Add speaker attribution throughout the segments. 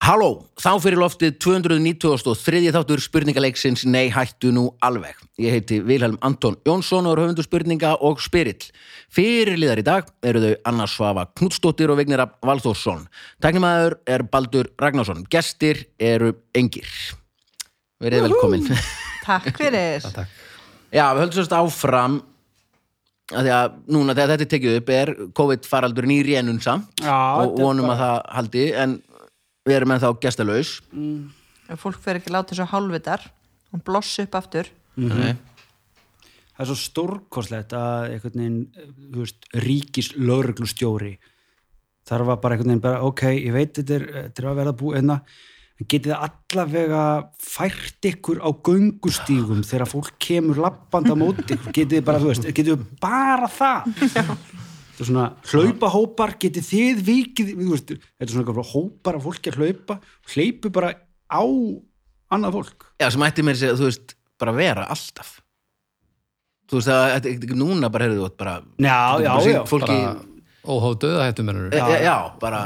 Speaker 1: Halló, þá fyrir loftið 293. þáttur spurningaleiksins Nei hættu nú alveg. Ég heiti Vilhelm Anton Jónsson og er höfundu spurninga og spyrill. Fyrirliðar í dag eru þau Anna Svava Knudsdóttir og Vignera Valþórsson. Tæknimaður er Baldur Ragnarsson. Gestir eru engir. Verið velkomin.
Speaker 2: Takk fyrir.
Speaker 1: Já, við höldum sérst áfram að því að núna þegar þetta er tekið upp er COVID-faraldurinn í rénun samt
Speaker 3: Já,
Speaker 1: og
Speaker 3: þetta er
Speaker 1: vonum að það haldi en við erum ennþá gestalaus.
Speaker 2: Ef Fólk fer ekki að láta þessu hálfvitar. Hún blossi upp aftur.
Speaker 3: Mhm. það er svo stórkoslegt að einhvern veginn, þú veist, ríkis lögreglustjóri þar var bara einhvern veginn bara, ok, ég veit þetta er, þetta er að verða búið einna en getið það allavega fært ykkur á göngustígum þegar fólk kemur lappand á móti ykkur, getið þið bara, þú veist, getið þið bara það þetta er svona hlaupahópar, getið þið vikið, þú veist, þetta er svona eitthvað hópar af fólki að hlaupa, hleypu bara á annað fólk
Speaker 1: Já, sem ætti mér að segja, þú veist, bara vera alltaf. Þú veist, það er ekki núna bara, heyrðu, þú átt bara...
Speaker 3: Já,
Speaker 1: þú
Speaker 3: já,
Speaker 1: bara sýnt
Speaker 3: já,
Speaker 1: Fólki,
Speaker 4: óháð döða hættum mennur
Speaker 1: já, já, bara,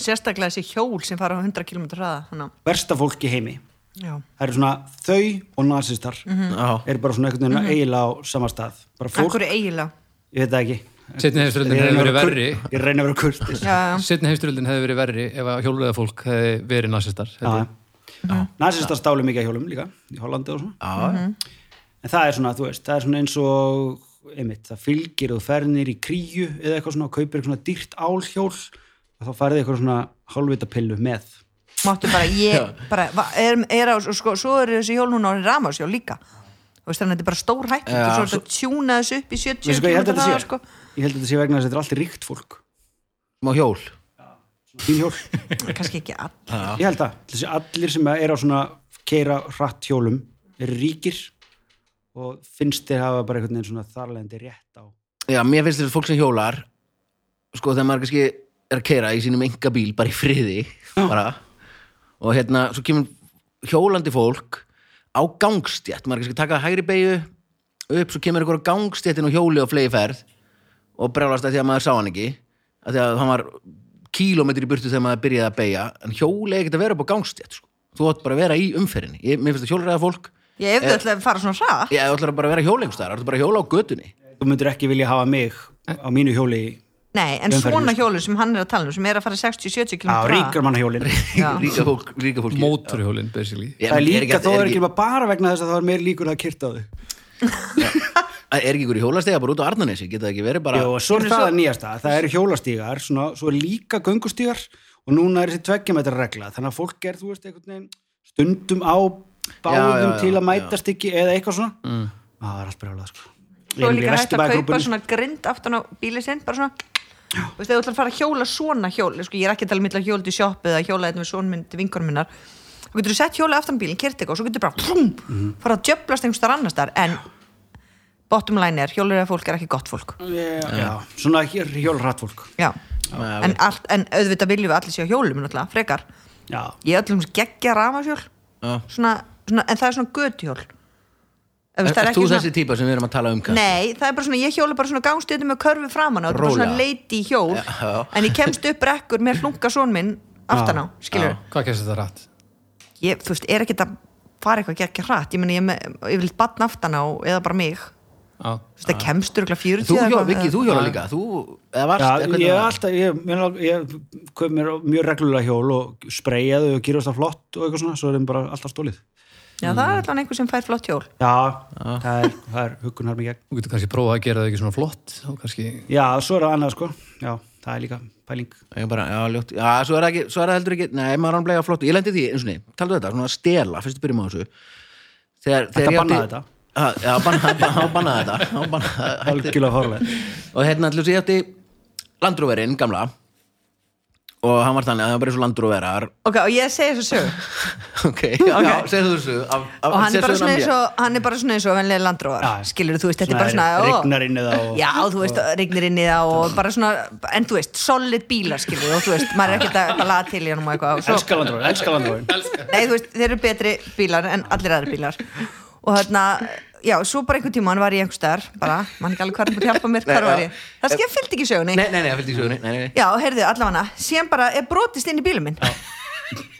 Speaker 2: Sérstaklega þessi hjól sem fara á 100 km hraða. Þannig, að-
Speaker 3: versta fólk í heimi
Speaker 2: já.
Speaker 3: það eru svona þau og nazistar
Speaker 1: já,
Speaker 3: eru bara svona einhvern veginn eiginlega á sama stað bara
Speaker 2: Fólk...
Speaker 3: fólk,
Speaker 2: Akkur eiginlega.
Speaker 3: ég veit það ekki
Speaker 4: setni
Speaker 3: Ég
Speaker 4: heimsturöldin
Speaker 3: reyni
Speaker 4: hefði
Speaker 3: að vera
Speaker 4: verið verri
Speaker 3: kurteis. ég reyna að vera kurtis
Speaker 2: Já, já.
Speaker 4: setni heimsturöldin hefði verið verri ef að hjólulega fólk hefði verið nasistar
Speaker 3: nazistar stálu mikið af hjólum líka í Hollandi og svona
Speaker 1: já,
Speaker 3: en það er svona, þú veist, það er svona eins og einmitt, það fylgir og þú fernir í kríu eða eitthvað svona, og kaupir eitthvað svona dýrt álhjól og þá færði eitthvað svona hálfvita pillu með
Speaker 2: Máttu bara, ég, bara, va- er, er á, og sko, svo eru þessi hjól núna orðin rámasjól líka. Þú veist þannig að þetta er bara stór hætt og svo er þetta að tjúna þessu upp í 70
Speaker 3: Veistu hvað ég held
Speaker 2: kílómetra
Speaker 3: að þetta
Speaker 2: hraða,
Speaker 3: sé? ég held að þetta sé vegna þess að þetta er allt ríkt fólk
Speaker 1: má hjól.
Speaker 3: þín hjól,
Speaker 2: sko. Kannski ekki all.
Speaker 3: ég held að þessi allir sem er á svona keira hratt hjólum eru ríkir og finnst þeir hafa bara einhvern veginn svona þarlegandi rétt á
Speaker 1: Já, mér finnst þetta fólk sem hjólar, sko, þegar maður kannski er að keira í sínum enga bíl, bara í friði, bara, og hérna, svo kemur hjólandi fólk á gangstjætt, maður er kannski að taka hægri beigju upp, svo kemur ykkur á gangstjættin og hjóli og flegi ferð og brjálast að því að maður sá hann ekki að því að hann var kílómetri í burtu þegar maður byrjaði að beigja en hjóli ekkert að vera upp á gangstjætt sko. þú átt bara að vera í umferðinni ég, mér finnst að hjólræða fólk
Speaker 2: Ég
Speaker 3: Eh,
Speaker 2: ef þau ætla að fara svona hraða.
Speaker 1: ég ætlar bara að vera hjólengstæðar, ætlar bara að hjóla á götunni
Speaker 3: þú myndir ekki vilja hafa mig á mínu hjóli í-
Speaker 2: Nei, en
Speaker 3: Umferðin,
Speaker 2: svona
Speaker 3: sko.
Speaker 2: hjólu sem hann er að tala um, sem er að fara 60-70 km
Speaker 3: á
Speaker 2: hraða.
Speaker 3: ríkar manna hjólin
Speaker 2: Já.
Speaker 1: ríka fólk, ríka fólk
Speaker 4: mótorhjólin, basically
Speaker 1: Ég-
Speaker 3: það er líka
Speaker 1: ekki-
Speaker 3: þó er ekki
Speaker 1: ekki,
Speaker 3: bara- bara vegna þess að það er meir líkur að kyrta á þau
Speaker 1: er ekki ykkur í hjólastega bara út á Arnanesi geta það ekki verið bara
Speaker 3: Jó, og svo er
Speaker 2: Eru
Speaker 3: það
Speaker 2: svo-
Speaker 3: að nýjasta, það eru hjólastígar svona, svo er líka göngustígar og núna er þessi tveggjametra regla þannig að fólk er, þú veist, einhvern veginn stundum á
Speaker 1: Já,
Speaker 3: báðum
Speaker 1: já, já,
Speaker 3: til að
Speaker 1: já.
Speaker 3: mætast ekki eða eitthvað svona mm. það er allt brjálað sko.
Speaker 2: Svo er líka hægt að kaupa
Speaker 3: Vesturbæjargrúpunni.
Speaker 2: svona grind aftan á bílið sinn, bara svona Þú veist, ef þú ætlar að fara að hjóla svona hjól sko, Ég er ekki að tala milla hjóla til sjoppu eða hjóla hérna þetta með svonmynd vinkonum minnar Þú getur þú sett hjóla aftan bílinn, kert eitthvað og svo getur bara trum,
Speaker 1: Mhm.
Speaker 2: fara að djöflast einhvers þar annars þar en bottom line er, hjólur eða fólk er ekki gott fólk
Speaker 3: Já, já, svona hjólrætt fólk
Speaker 2: Já, en, allt, en auðvitað viljum við allir séu á hjólum náttúrulega, frekar
Speaker 3: já,
Speaker 2: Ég er öllum sem geggja rafasjól
Speaker 1: Já.
Speaker 2: svona, svona, en það er svona götuhjól Ef
Speaker 1: er,
Speaker 2: veist, það
Speaker 1: er
Speaker 2: ekki
Speaker 1: þú
Speaker 2: svona-
Speaker 1: þessi típa sem við erum að tala um kannski?
Speaker 2: Nei, það er bara svona, ég hjóla bara svona gangstöðum með körfi framan á, þetta er bara svona
Speaker 1: Rólega.
Speaker 2: leiti hjól
Speaker 1: Já.
Speaker 2: en ég kemst upp rekkur með hlunga són minn aftan á, skilur
Speaker 4: hvað kemst þetta rætt?
Speaker 2: ég, þú veist, er ekki að fara eitthvað ekki hratt, ég meni, ég, er með- ég vil batna aftan á eða bara mig,
Speaker 4: Já.
Speaker 2: þú veist, það kemst örgulega 40
Speaker 1: þú
Speaker 2: eða
Speaker 1: hjóla,
Speaker 2: eitthvað.
Speaker 1: Viki, þú hjóla líka þú, eða varst,
Speaker 3: já
Speaker 1: eða hvernig
Speaker 3: ég er
Speaker 1: var?
Speaker 3: alltaf ég, ég, ég kaup mér mjög reglulega hjól og spreyjaðu og gyrjast það flott og eitthvað svona, svo er þeim bara alltaf stólið
Speaker 2: Já, það er allan einhver sem fær flott hjól
Speaker 3: Já, það er, það er huggunar mig gegn.
Speaker 4: þú getur kannski prófað að gera það ekki svona flott og kannski,
Speaker 3: Já, svo er það annað sko. Já, það er líka pæling.
Speaker 1: Ég bara, já, ljótt, já, svo er það ekki, svo er það heldur ekki nei, maður hann bleiða flott, ég lendi því, eins og niður talaðu þetta, svona að stela, fyrst að byrjum á þessu þegar, þegar ég
Speaker 3: bannaði þetta.
Speaker 1: Ha, já, bannaði banna, hann bannaði þetta hann bannaði,
Speaker 3: Algjörlega farlega.
Speaker 1: og hérna allir ég átti landróverinn, gamla og hann var þannig að það var bara eins og landróverar
Speaker 2: Ok, og ég segi þessu sög
Speaker 1: ok, já, já, segðu þessu af, af,
Speaker 2: og hann er,
Speaker 1: segðu söguna
Speaker 2: bara
Speaker 1: af
Speaker 2: svona eins
Speaker 1: mér.
Speaker 2: og, hann er bara svona eins og venlega landróðar
Speaker 3: Já.
Speaker 2: skilur þú veist, þetta er bara
Speaker 3: Svona
Speaker 2: svona ó.
Speaker 3: rignar inn í það og-
Speaker 2: já, þú veist, rignar inn í það og bara svona, en þú veist, solid bílar skilur og þú veist, maður er ekkert að eitthvað laga til í hann og eitthvað og svo,
Speaker 3: Elskar landróin, elskar landróin.
Speaker 2: nei, þú veist, þeir eru betri bílar en allir aðri bílar og þarna, já, svo bara einhvern tíma hann var í einhver staðar, bara, mann ekki alveg hvað er búin að hjálpa mér,
Speaker 1: Nei,
Speaker 2: hvað var
Speaker 1: já.
Speaker 2: ég það skil, fylgdi ekki sögunni
Speaker 1: nei, nei, nei, fylgdi í sögunni, nei, nei, nei
Speaker 2: Já, heyrðu, allavega, síðan bara er brotist inn í bílum minn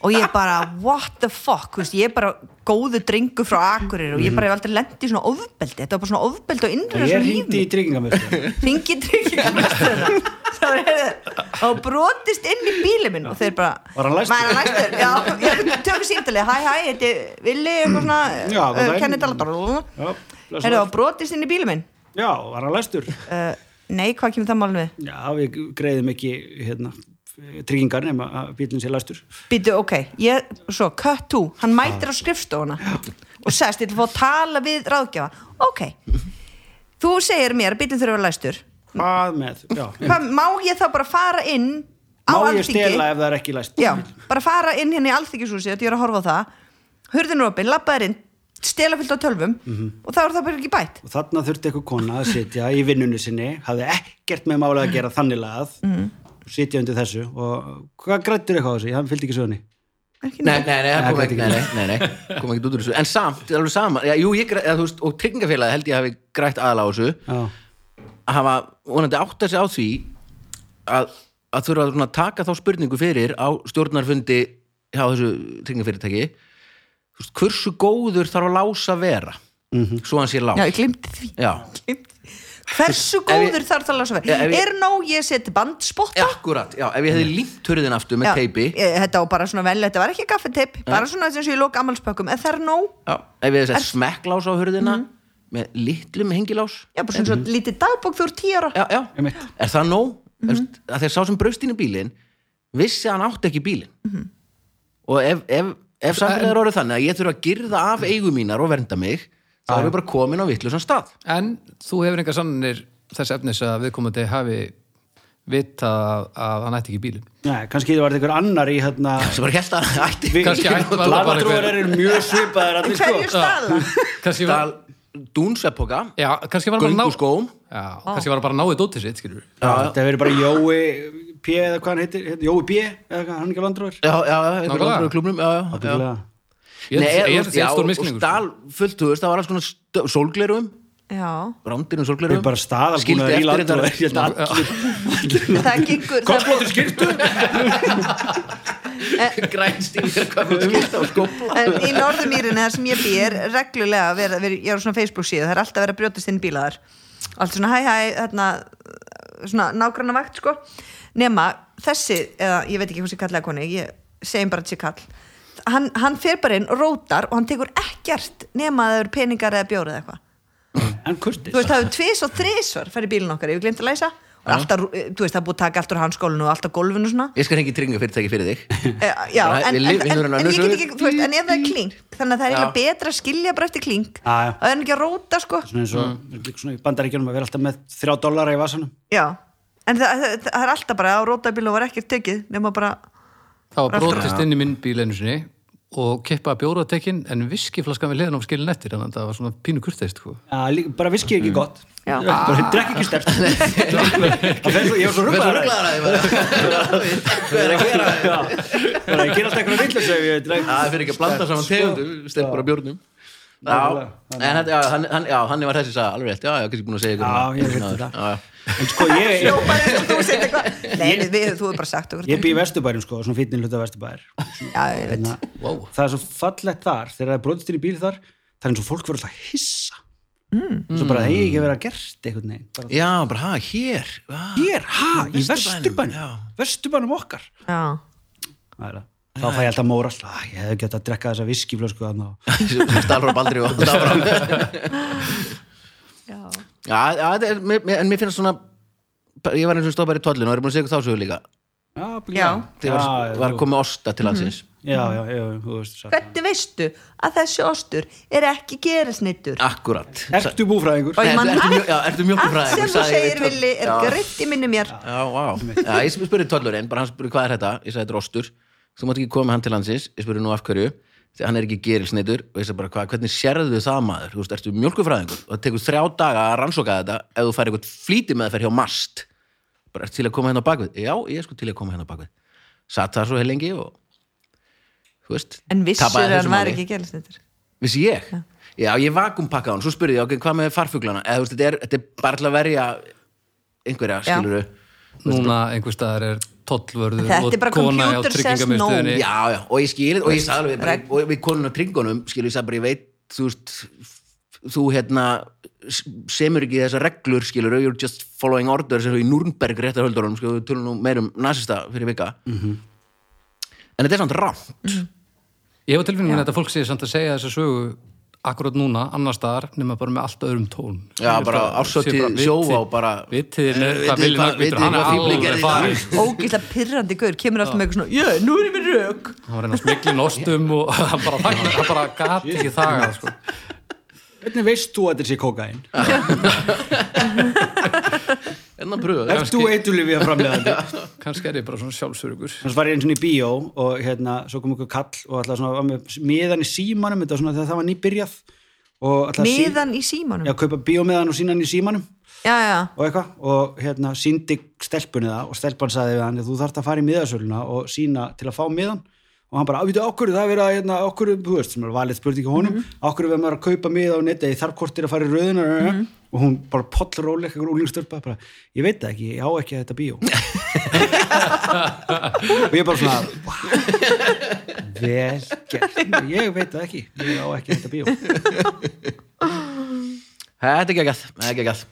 Speaker 2: og ég bara, what the fuck þú veist, ég er bara góðu drengu frá Akureyri og ég bara hef aldrei lent í svona ofbeldi þetta var bara svona ofbeldi og innrið
Speaker 3: Ég hringdi í tryggingamöfstu
Speaker 2: ringi tryggingarstöðuna Það var, heyrðu, og brotist inn í bílið minn og þeir bara
Speaker 3: Var hann læstur?
Speaker 2: Var hann læstur, já, já tökum símtalið, hæ hæ, þetta er Vili eitthvað
Speaker 3: Já,
Speaker 2: svona,
Speaker 3: góðan daginn.
Speaker 2: kennið talandar
Speaker 3: Já, blessaður.
Speaker 2: Heyrðu, og brotist inn í bílið minn
Speaker 3: Já, var hann læstur
Speaker 2: uh, Nei, hvað kemur það málum við?
Speaker 3: Já, við greiðum ekki hérna, tryggingar nema að bílinn sé læstur
Speaker 2: Býtu, ok, ég, svo, cut to hann mætir á skrifstofuna og sest, ég ætla að fá að tala við ráðgjafa Ok, þú segir mér að bílið þurfa að vera læstur
Speaker 3: Hvað með? Já,
Speaker 2: Hvað, má ég þá bara fara inn á
Speaker 3: Má ég
Speaker 2: alþingi?
Speaker 3: stela ef það er ekki læst?
Speaker 2: Já, bara fara inn hérna í alþykjusúsi að ég er að horfa á það hurðin er opinn, labbaðir inn stela fyllt á tölvum
Speaker 1: Mhm.
Speaker 2: og þá er það bara ekki bætt
Speaker 3: Og þarna þurfti eitthvað kona að sitja í vinnunni sinni, hafði ekkert með mála að gera þannig lagað,
Speaker 2: Mm.
Speaker 3: sitja undir þessu og hvað grættur eitthvað á þessu? Hann fylgdi ekki sögunni.
Speaker 2: ekki
Speaker 1: Nei,
Speaker 2: neitt.
Speaker 1: nei, nei, það kom
Speaker 3: Nei,
Speaker 1: ekki, nei, nei, nei, nei, kom ekki út úr þessu En samt, það er alveg sama já, Jú, ég, græ- eða, þú veist, og tryggingafélagi held ég hafi grætt aðla á þessu
Speaker 3: Já,
Speaker 1: að hafa vonandi átt að sig á því að, að þurfa að svona taka þá spurningu fyrir á stjórnarfundi hjá þessu tryggingafyrirtæki Þú veist, hversu góður þarf að lása vera svo hann sé lás
Speaker 2: Mhm. Já, ég glimti því
Speaker 1: Já,
Speaker 2: Gleymdi. Hversu góður þarf það að lasa
Speaker 1: Já, ef
Speaker 2: verið?
Speaker 1: ég-
Speaker 2: Er nóg ég seti bandspotta?
Speaker 1: akkurat, já, ef ég hefði límt hurðin aftur með teipi
Speaker 2: ég, Þetta var bara svona venlega, þetta var ekki gaffeteip bara svona eins og ég lók ammalspökkum en það er nóg,
Speaker 1: já, ef ég hefði sett smekklás á hurðina með litlum hengilás
Speaker 2: já, bara svona
Speaker 1: Mhm.
Speaker 2: mm lítið dagbók þú eru tíu ára
Speaker 1: já, já.
Speaker 3: Einmitt.
Speaker 1: er það nóg mm -hmm. að þegar sá sem braust inn í bílinn vissi að hann átti ekki bílinn og ef, ef, ef samfélagið er orðið þannig að ég þurfa að girða af
Speaker 4: Mm.
Speaker 1: eigum mínar og vernda mig þá erum við bara komin á vittlusan stað
Speaker 4: En þú hefur engar sannir þess efnis að viðkomandi hafi vita að hann ætti ekki bílum.
Speaker 3: Nei, kannski það var eitthvað annar í hérna...
Speaker 1: sem bara held að hann ætti
Speaker 3: Vi-
Speaker 4: Kannski ætti maður bara
Speaker 3: Lagatrúar
Speaker 4: einhver-
Speaker 3: eru mjög svipaðir
Speaker 2: En
Speaker 3: allir
Speaker 2: hverju
Speaker 3: sko.
Speaker 2: staða?
Speaker 4: Kannski var,
Speaker 1: stal dúnsveppoka,
Speaker 4: já, kannski var hann bara að ná...
Speaker 1: gunguskóm
Speaker 4: Já, kannski var hann bara að náði dótið sitt, skilur við.
Speaker 3: Það verið bara Jói P. eða hvað hann heitir, hérna, Jói B. eða hvað hann ekki landrúar.
Speaker 1: já, já, einhverjum
Speaker 4: Nákvæmlega.
Speaker 1: andru í klubnum já, já, já.
Speaker 4: Ég
Speaker 1: Nei,
Speaker 4: held- ég held
Speaker 1: og-
Speaker 4: að það
Speaker 1: já,
Speaker 4: er stór sko.
Speaker 1: og
Speaker 4: miskinningur.
Speaker 1: stal fullt, þú veist, það var alls konar stö- sólglerugum,
Speaker 2: Já,
Speaker 1: rándirinn
Speaker 3: Það
Speaker 1: sólglerugum
Speaker 3: er bara staðalbúnaður í landrúar. Ég held að allir...
Speaker 2: það gengur það- Eh,
Speaker 3: Koppblóttur skirtu?
Speaker 1: grænstingur, hvað fyrir skilta og skopla
Speaker 2: En í Norðumýrinni þar sem ég bý er reglulega að vera, vera, ég er á svona Facebook síðu það er alltaf að vera að brjótast inn í bíla þar allt svona hæ hæ, þarna svona nágranna vakt sko nema þessi, eða ég veit ekki hvað sér kallega koni ég segjum bara að sér kall hann, hann fer bara inn og rótar og hann tekur ekkert nema að það eru peningar eða bjórið eða eitthvað
Speaker 3: En Kurtis?
Speaker 2: þú veist, það hefur tvis og þrisvar fær í bílinn okkar, ég glemt að læsa og alltaf, eh, þú veist, það er búið að taka allt úr hanskólinu og alltaf gólfinu og svona
Speaker 1: ég skal hengi trygginga fyrir þig
Speaker 2: Eh, já,
Speaker 1: Bara,
Speaker 2: en,
Speaker 1: við
Speaker 2: en,
Speaker 1: lifum
Speaker 2: en,
Speaker 1: hérna
Speaker 2: en,
Speaker 1: önnur
Speaker 2: ég get
Speaker 1: sögu.
Speaker 2: ekki, þú veist, en ef það er klink þannig að það er eiginlega betra að skilja bara eftir klink
Speaker 3: Já, já.
Speaker 2: og en ekki að róta sko
Speaker 3: svona eins og mm. svona í bandaríkjunum að vera alltaf með þrjá dollara í vasanum
Speaker 2: já, en það, það, það er alltaf bara að róta bíl og var ekkert tekið nema bara,
Speaker 4: Það var brotist inn í minn bíl einu sinni og kippaði bjóratekkin en viskiflaskan við leðan á skilin eftir þannig að það var svona pínu kurteist sko.
Speaker 3: ja, líka, bara viski er ekki gott
Speaker 2: Já.
Speaker 3: bara drekk ekki sterkt Það fer svo- ég var svo ruglaður að-
Speaker 1: það er að gera
Speaker 3: Já. bara ég ger alltaf eitthvað villus ef ég drekk
Speaker 1: það fyrir ekki að blanda
Speaker 3: sko.
Speaker 1: saman tegundum stelpur að björnum já,
Speaker 3: Nákvæmlega.
Speaker 1: en þetta- já, hann, hann, já, hann var þessi saga alveg rétt, já, já, kannski búin að segja ykkur
Speaker 3: Já,
Speaker 1: um
Speaker 3: ég
Speaker 1: það.
Speaker 3: veit
Speaker 1: Já,
Speaker 3: þetta.
Speaker 1: já.
Speaker 3: en sko ég,
Speaker 2: Jó,
Speaker 3: ég,
Speaker 2: bara eins og þú segir eitthvað nei, nei, við, þú hefur bara sagt okkur
Speaker 3: ég bý í vesturbærum sko svona fínni hluta vesturbæður
Speaker 2: já, ég veit,
Speaker 3: Hérna,
Speaker 4: Vá.
Speaker 3: það er svo fallegt þar þegar það er brotist inn í bíl þar það er eins og fólk verður alltaf hissa svo bara það eigi ekki að vera gert einhvern veginn bara,
Speaker 1: já, bara, ha, hér ah,
Speaker 3: hér, ha, í
Speaker 1: Vesturbænum, já.
Speaker 3: vesturbænum vesturbænum okkar
Speaker 2: já,
Speaker 3: Það er það. þá fæ ég alltaf móra alltaf, ég hef gett að drekka þessa viskiflösku þannig
Speaker 1: stalfra baldri og alltaf áfram
Speaker 2: já.
Speaker 1: já, já, þetta er- mér- mér- en mér finnst svona ég var eins og stóð bara í tollinu og er búin að segja ykkur þá sögur líka
Speaker 3: Já, Mhm.
Speaker 2: Já.
Speaker 1: þegar var, var
Speaker 3: kom...
Speaker 1: komið osta til landsins
Speaker 3: já, já, já, þú veist satt.
Speaker 2: hvernig veistu að þessi ostur er ekki gerisnittur
Speaker 1: akkurat
Speaker 3: Ertu búfræðingur?
Speaker 2: Og ég man
Speaker 1: ertu
Speaker 2: allt-
Speaker 1: mjó- já, ertu mjólkurfræðingur,
Speaker 2: allt sem þú
Speaker 1: sagði ég við
Speaker 2: segir
Speaker 1: Toll.
Speaker 2: villi er
Speaker 1: Já.
Speaker 2: gritt í minni mér
Speaker 1: Já, vá. Já, ég spurði tollurinn, bara hann spurði hvað er þetta ég sagði þetta er ostur, þú mátt ekki koma með hann til landsins ég spurði nú af hverju, því hann er ekki gerilsneitur og ég sagði bara, hva, hvernig sérðu það maður þú veist, ertu mjölkufræðingur og það tekur þrjá daga að rannsóka þetta ef þú fær eitthvað flýti með það fer hjá mast bara ertu til að koma hérna á bakvið já, ég er sko til að koma hérna á bakvið satt það svo heilengi og þú veist,
Speaker 2: en vissur
Speaker 1: tapaði
Speaker 2: að hann
Speaker 1: þessu
Speaker 2: var
Speaker 1: máli.
Speaker 2: ekki gerisnittur
Speaker 1: Vissi ég? Já, ég vakumpakkaði hann, svo spurði ég, ok, hvað með farfuglana? Eða, þú veist, þetta, er, þetta er bara til að verja einhverja, skilur
Speaker 4: Núna einhver staðar er tollvörður
Speaker 2: Þetta er
Speaker 4: og
Speaker 2: bara
Speaker 4: kona á
Speaker 2: computer says
Speaker 4: tryggingamiðstöðinni
Speaker 1: já, já, og ég skil og ég sagði alveg, bara,
Speaker 2: Reg-
Speaker 1: og við konuna kringunum skil ég sagði bara, ég veit, þú veist þú hérna s- semur ekki þessar reglur, skilur, you're just following orders eins og í Nürnberg réttarhöldurunum skilur, við tölum nú meir um nasista fyrir vika en þetta er samt rámt
Speaker 4: Ég hef á tilfinningin að þetta fólk sé samt að segja þessa sögu akkurat núna, annar staðar, nema bara með allt öðrum tón.
Speaker 1: Já, bara árshátíð sjóvá og bara- Eh,
Speaker 4: Vitið, hvað
Speaker 1: vitið
Speaker 4: viljum
Speaker 1: hvað-
Speaker 4: að býtur,
Speaker 1: vitið
Speaker 4: hann
Speaker 1: hvað
Speaker 4: er
Speaker 1: fíflin
Speaker 4: alveg
Speaker 1: gerði í
Speaker 4: farinn.
Speaker 1: dag?
Speaker 2: ógislega pirrandi gaur, kemur alltaf með eitthvað svona já, nú erum við rök
Speaker 4: Hann var að reyna að smikli nostum og hann bara þagnar, hann bara gati ekki þaga, sko.
Speaker 3: Hvernig veist þú að þetta sé kókain?
Speaker 1: en að pröfa
Speaker 3: Ert þú eitulifið að framlega
Speaker 4: Kannski er ég bara svona sjálfsörugur.
Speaker 3: Þannig var ég eins og í bíó og hérna, svo kom einhver kall og alltaf svona var með miðan í símanum, þetta var svona þegar það var nýbyrjað og alltaf
Speaker 2: miðan í
Speaker 3: sí,
Speaker 2: símanum
Speaker 3: já, kaupa bíómiðan og sína hann í símanum
Speaker 2: já, já,
Speaker 3: og eitthvað og hérna síndi stelpunni það og stelpan sagði við hann þú þarft að fara í miðasöluna og sína til að fá miðan og hann bara, að veitu, okkur það er verið að hérna, okkur, þú veist, sem er valið spurningi á honum mm -hmm. okkur er verið maður að kaupa miða á netta ég þarf kortir að fara í röðuna og hún bara pollróleg, einhver úlingstörpa bara, ég veit það ekki, ég á ekki að þetta bíó og ég bara svona "Vá, vel gert ég veit það ekki, ég á ekki að þetta bíó
Speaker 1: Þetta er geggjað, þetta er geggjað.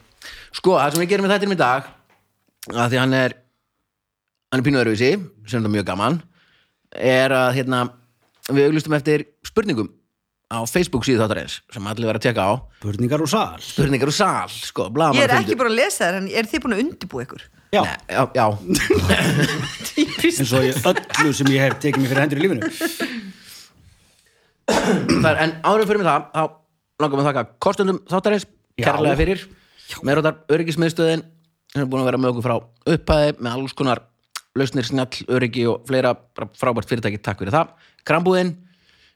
Speaker 1: Sko, það sem við gerum með þættinum í dag að því hann er hann er pínu öðruvísi, sem þetta er mjög gaman er að hérna við auglustum eftir spurningum á Facebook síðu þáttarins, sem allir verða að tjekka á
Speaker 3: Burningar úr sal
Speaker 1: spurningar úr sal, sko, blaðamann
Speaker 2: ég er ekki búin að lesa þær en er þið búin að undirbúa ykkur
Speaker 3: já,
Speaker 1: Já, já,
Speaker 3: eins og ég, öllu sem ég hef tekið mér fyrir hendur í lífinu
Speaker 1: það er, en árum fyrir mig það þá langar við að þakka kostundum þáttarins
Speaker 3: Já.
Speaker 1: kærlega fyrir, meðrótar öryggismiðstöðin sem er búin að vera með okkur frá upphæði með alls konar lausnir, snjall, öryggi og fleira bara frábært fyrirtæki, takk fyrir það Krambúðin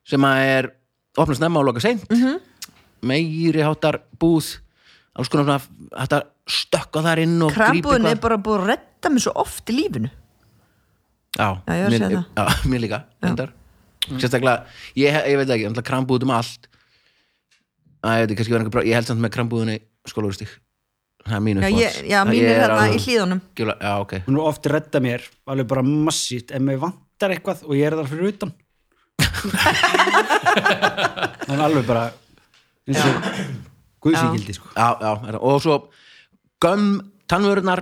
Speaker 1: sem að er opnast nefna og loka seint
Speaker 2: Mhm.
Speaker 1: meiri hátar búð alls konar svona hægt að stökka þar inn og grípa
Speaker 2: krambúðin
Speaker 1: eitthvað.
Speaker 2: er bara búin að redda mér svo oft í lífinu
Speaker 1: Já,
Speaker 2: Já, ég var að
Speaker 1: mér,
Speaker 2: segja
Speaker 1: já, mér líka endar. Sérstaklega, ég, ég veit ekki, náttúrulega krambúð út um allt Æ, ég veit ekki, kannski var einhver brá Ég held samt með krambúðinni skólaugustík Það er mínu
Speaker 2: já, ég,
Speaker 1: uppáhalds.
Speaker 2: já
Speaker 1: Það-
Speaker 2: mín
Speaker 1: ég
Speaker 2: er þarna
Speaker 1: alveg-
Speaker 2: í hlíðunum
Speaker 1: Gjöla- Já, ok
Speaker 3: hún er ofta redda mér alveg bara massít ef mér vantar eitthvað og ég er þar fyrir utan það er alveg bara eins og guðsíkildi sko.
Speaker 1: já, já, er það. Og svo göm tannvörunar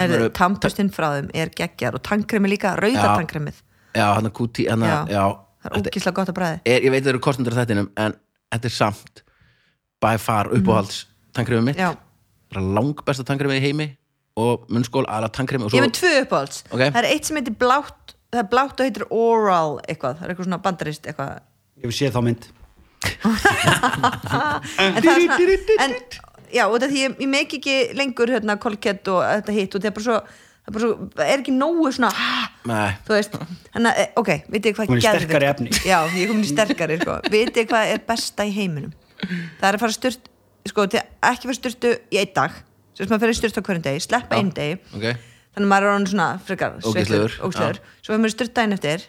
Speaker 1: sem
Speaker 2: Er,
Speaker 1: eru-
Speaker 2: tampustinn frá þeim er geggjar og tannkremi líka, rauða
Speaker 1: Já.
Speaker 2: tannkremið
Speaker 1: Já, hann er kúti hann
Speaker 2: Já.
Speaker 1: er, já,
Speaker 2: það er
Speaker 1: þetta
Speaker 2: ógislega gott að bræði
Speaker 1: er, Ég veit það eru kostendur á þættinum En þetta er samt By far uppáhalds mm. tankrefið mitt
Speaker 2: Mhm. Já.
Speaker 1: Bara Lang besta tankrefið í heimi Og munnskól, aðla tankrefið og
Speaker 2: ég
Speaker 1: svo-
Speaker 2: er með tvö uppáhalds,
Speaker 1: Ok.
Speaker 2: það er eitt sem heitir blátt það er blátt og heitir oral eitthvað það er eitthvað svona bandarist eitthvað
Speaker 3: ég hef séð þá mynd
Speaker 2: en það er svona en, já, og þetta því ég, ég meik ekki lengur hérna kolkett og þetta hitt og það er bara svo, það er, bara svo, það er ekki nógu svona ah,
Speaker 1: Nei,
Speaker 2: þú veist, hann að, eh, ok, vitið þið hvað
Speaker 3: Komin í
Speaker 2: geðveikt-
Speaker 3: sterkari efni.
Speaker 2: já, ég er komin í sterkari, sko, vitið þið hvað er besta í heiminum það er að fara sturt sko, til- ekki fara styrtu í einn dag sem þess maður fyrir styrtu á hverjum degi, sleppa einn degi
Speaker 1: ok
Speaker 2: þannig að maður er orðin svona frekar
Speaker 1: Ógeðslegur,
Speaker 2: sveittur, ógeðslegur. svo hefur maður styrtu daginn eftir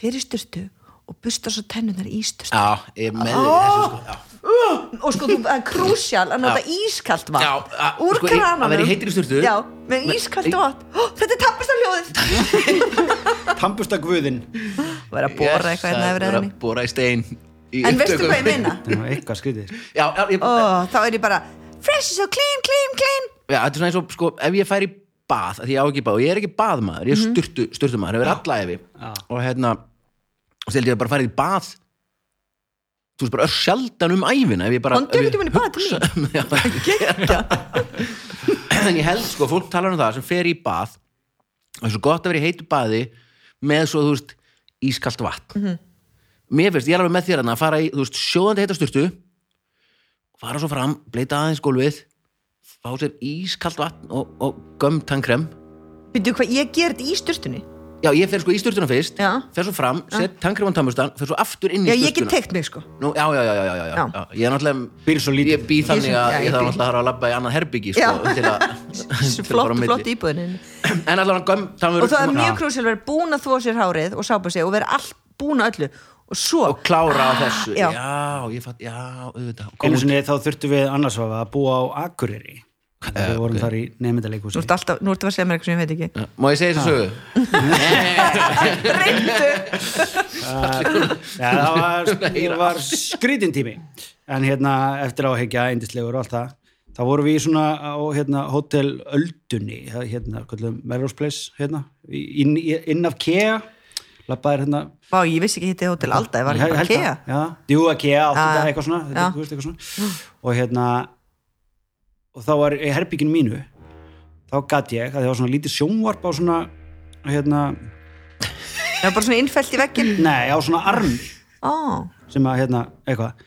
Speaker 2: fyrir styrtu og busta svo tennunar í styrtu
Speaker 1: Já, ég er með þér í þessu sko Já,
Speaker 2: og sko, þú- það er krúsjál að nota ískalt vatn
Speaker 1: Já, að-
Speaker 2: úr
Speaker 1: sko, í-
Speaker 2: krananum
Speaker 1: að vera í heitri sturtu.
Speaker 2: já, með ískalt vatn Ó, þetta er tappast af hljóðið
Speaker 3: Tampusta guðin
Speaker 2: vera
Speaker 1: sko.
Speaker 2: að bóra eitthvað hérna yfir
Speaker 1: Vera
Speaker 2: eðinni
Speaker 1: að bóra í stein í
Speaker 2: en veistu
Speaker 1: upptökum.
Speaker 2: hvað ég minna?
Speaker 3: það var eitthvað sko. skriðið
Speaker 1: Já, já, ég,
Speaker 2: Ó, þá er ég bara fresh is so clean, clean, clean
Speaker 1: já, þetta er svona eins og sko Ef ég fær í bað, af því ég á ekki bað Og ég er ekki baðmaður,
Speaker 2: Mhm.
Speaker 1: ég er styrtu, sturtumaður Hefur alla efi Og hérna, og steldi ég bara farið í bað Þú veist bara öll sjaldan um æfina Ef ég bara
Speaker 2: Komdu
Speaker 1: ef ég
Speaker 2: einhvern tímann í bað til
Speaker 1: hugsa- Já, en ég held sko, fólk talar um það sem fer í bað og það er svo gott að vera í heitu baði með svo, þú veist, ískalt vatn
Speaker 2: Mhm.
Speaker 1: mér finnst, ég er alveg með þér hérna að fara í, þú veist, sjóðandi heita sturtu fara svo fram, bleita aðeins gólfið fá sér ískalt vatn og, og göm tannkrem
Speaker 2: veitu hvað ég ger þetta í sturtunni?
Speaker 1: já, ég fer sko í sturtuna fyrst
Speaker 2: Já.
Speaker 1: fer svo fram, set tannkrem á tannbustan fer svo aftur inn í
Speaker 2: já,
Speaker 1: sturtuna
Speaker 2: ég get teikt mig sko
Speaker 1: Nú, já, já, já, já, já, já, já.
Speaker 2: Já.
Speaker 1: Ég er náttúrulega
Speaker 3: Býr svo lítið.
Speaker 1: Ég býð þannig
Speaker 2: Ég
Speaker 1: að
Speaker 2: sem- já,
Speaker 1: ég
Speaker 2: ég
Speaker 1: þarf
Speaker 2: býð.
Speaker 1: náttúrulega að fara að labba í annað herbyggi sko,
Speaker 2: Já.
Speaker 1: til að til að fara á
Speaker 2: flott,
Speaker 1: milli.
Speaker 2: flott íbúðinni
Speaker 1: En allavega göm
Speaker 2: og það er mjög
Speaker 1: Já.
Speaker 2: krúsjál að vera búin að þvó sér hárið og sápa sig og vera allt búin að öllu og svo
Speaker 1: Og klára á þessu Já,
Speaker 2: Ah, já.
Speaker 1: ég fatt, já, auðvitað Kom
Speaker 3: einu
Speaker 1: út.
Speaker 3: sinni þá þurftum við annarsvafa að búa á Akureyri við vorum þar í nefndaleikúsi
Speaker 2: Nú ertu alltaf, nú ertu að segja mér eitthvað sem ég veit ekki
Speaker 1: Má ég segja þessu sögu?
Speaker 2: Reyndu!
Speaker 3: Já, það var, það var skrítin tími en hérna eftir áhegja eindislegur og allt það þá vorum við í svona á hérna, Hotel Öldunni það er, hérna, kvöldum Melrose Place hérna, í- inn, inn af Kea lappaðir hérna
Speaker 2: Vá, ég vissi ekki hitti hótel Alda, ég var
Speaker 3: Ég
Speaker 2: ekki
Speaker 3: held
Speaker 2: bara kea
Speaker 3: að- já, Jú, að Kea, átti
Speaker 2: Já,
Speaker 3: þetta
Speaker 2: já.
Speaker 3: eitthvað svona, þetta,
Speaker 2: Já.
Speaker 3: þú veist, eitthvað svona. og hérna og þá var í herbygginu mínu þá gat ég að það var svona lítið sjónvarp á svona hérna,
Speaker 2: Það var bara svona innfælt í veggin
Speaker 3: nei, á svona armi
Speaker 2: Ó,
Speaker 3: sem að hérna eitthvað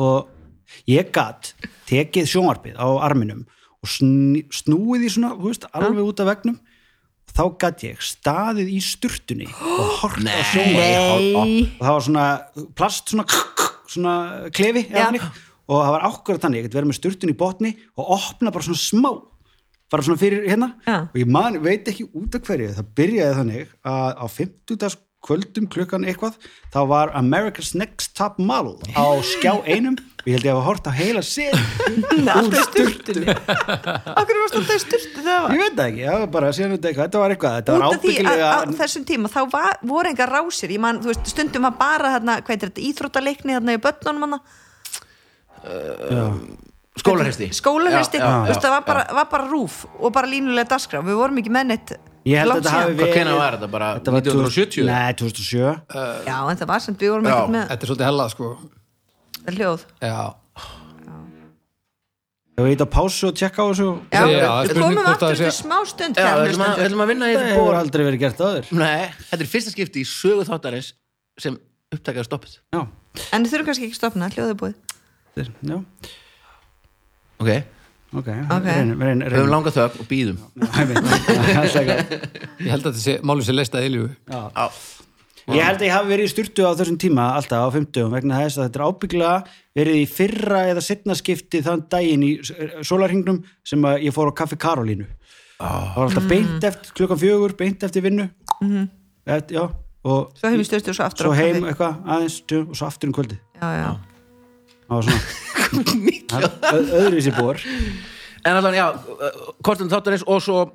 Speaker 3: og ég gat tekið sjónvarpið á arminum og sn- snúið í svona þú veist, alveg út af vegnum þá gat ég staðið í sturtunni og hort á sjónvarpið
Speaker 2: Nei.
Speaker 3: og það var svona plast svona, svona klefi eða
Speaker 2: Já.
Speaker 3: þannig. og það var ákvörð þannig, ég get verið með sturtunni í botni og opna bara svona smá bara svona fyrir hérna
Speaker 2: Já.
Speaker 3: og ég man, veit ekki út af hverju það byrjaði þannig að á 50 kvöldum klukkan eitthvað þá var America's Next Top Model á skjá einum og ég held ég að hafa hort á heila sér
Speaker 2: alltaf í sturtunni Akkur varst alltaf í sturtu þegar það var
Speaker 3: ég veit það ekki, það var bara síðan þetta eitthvað þetta var eitthvað, þetta var
Speaker 2: Út af því að
Speaker 3: ábyggilega
Speaker 2: á þessum tíma þá var, voru engar rásir Ég man, þú veist, stundum var bara þarna, hvað er þetta, íþróttaleikni þarna í börnunum hana
Speaker 1: Skólarhesti
Speaker 2: Skólarhesti,
Speaker 1: Já, já,
Speaker 2: þú veist,
Speaker 1: já,
Speaker 2: það var bara, var bara rúf og bara línulega dagskrá Við vorum ekki með neitt
Speaker 3: ég held að
Speaker 2: langt
Speaker 3: þetta hafi
Speaker 2: síðan.
Speaker 1: Hvað
Speaker 3: verið
Speaker 1: hvenær var þetta? Bara 1970?
Speaker 3: nei, 2007
Speaker 2: Já, en það var sem við vorum
Speaker 1: Já.
Speaker 2: ekkert með
Speaker 4: Þetta er svolítið hella, sko.
Speaker 2: þetta hljóð
Speaker 4: Já.
Speaker 3: ég veit að pásu og tjekka á þessu
Speaker 2: Já,
Speaker 4: Já, já,
Speaker 2: við
Speaker 4: spurning
Speaker 2: komum
Speaker 4: hvort
Speaker 2: aftur
Speaker 4: það sé-
Speaker 2: til smá stund hérna,
Speaker 1: Já,
Speaker 2: kæru
Speaker 1: við ætlum að- við
Speaker 2: hlustendur.
Speaker 1: ætlum að vinna í
Speaker 3: það
Speaker 1: þetta
Speaker 3: hefur
Speaker 1: bóra
Speaker 3: aldrei verið gert áður
Speaker 1: Nei, þetta er fyrsta skipti í sögu þáttarins sem upptakaði stoppið
Speaker 3: já,
Speaker 2: En þið þurfum kannski ekki að stopna, hljóðið er búið
Speaker 3: þetta er- já,
Speaker 1: Ok, við
Speaker 3: ok
Speaker 2: Ok.
Speaker 3: reynum, reynum,
Speaker 1: höfum
Speaker 3: reynum
Speaker 1: langa þögn og býðum
Speaker 3: ég
Speaker 4: Ég held að þetta sé, málið sé leist að eilífu.
Speaker 1: Á,
Speaker 3: held að ég hafi verið í sturtu á þessum tíma alltaf á 50 vegna þess að þetta er ábyggilega verið í fyrra eða setna skipti þann daginn í sólarhingnum sem að ég fór á kaffi Karolínu það var alltaf
Speaker 2: Mm.
Speaker 3: beint eftir klukkan fjögur beint eftir vinnu eftir, já, og
Speaker 2: Mhm. Svo heim í styrstu og svo aftur
Speaker 3: svo
Speaker 2: á
Speaker 3: heim
Speaker 2: kaffi.
Speaker 3: eitthvað aðeins tjú, og svo aftur um kvöldið
Speaker 2: Já, já,
Speaker 3: það var svona Ö- öðruvísi bor
Speaker 1: En allan, já, kortum þáttarins og svo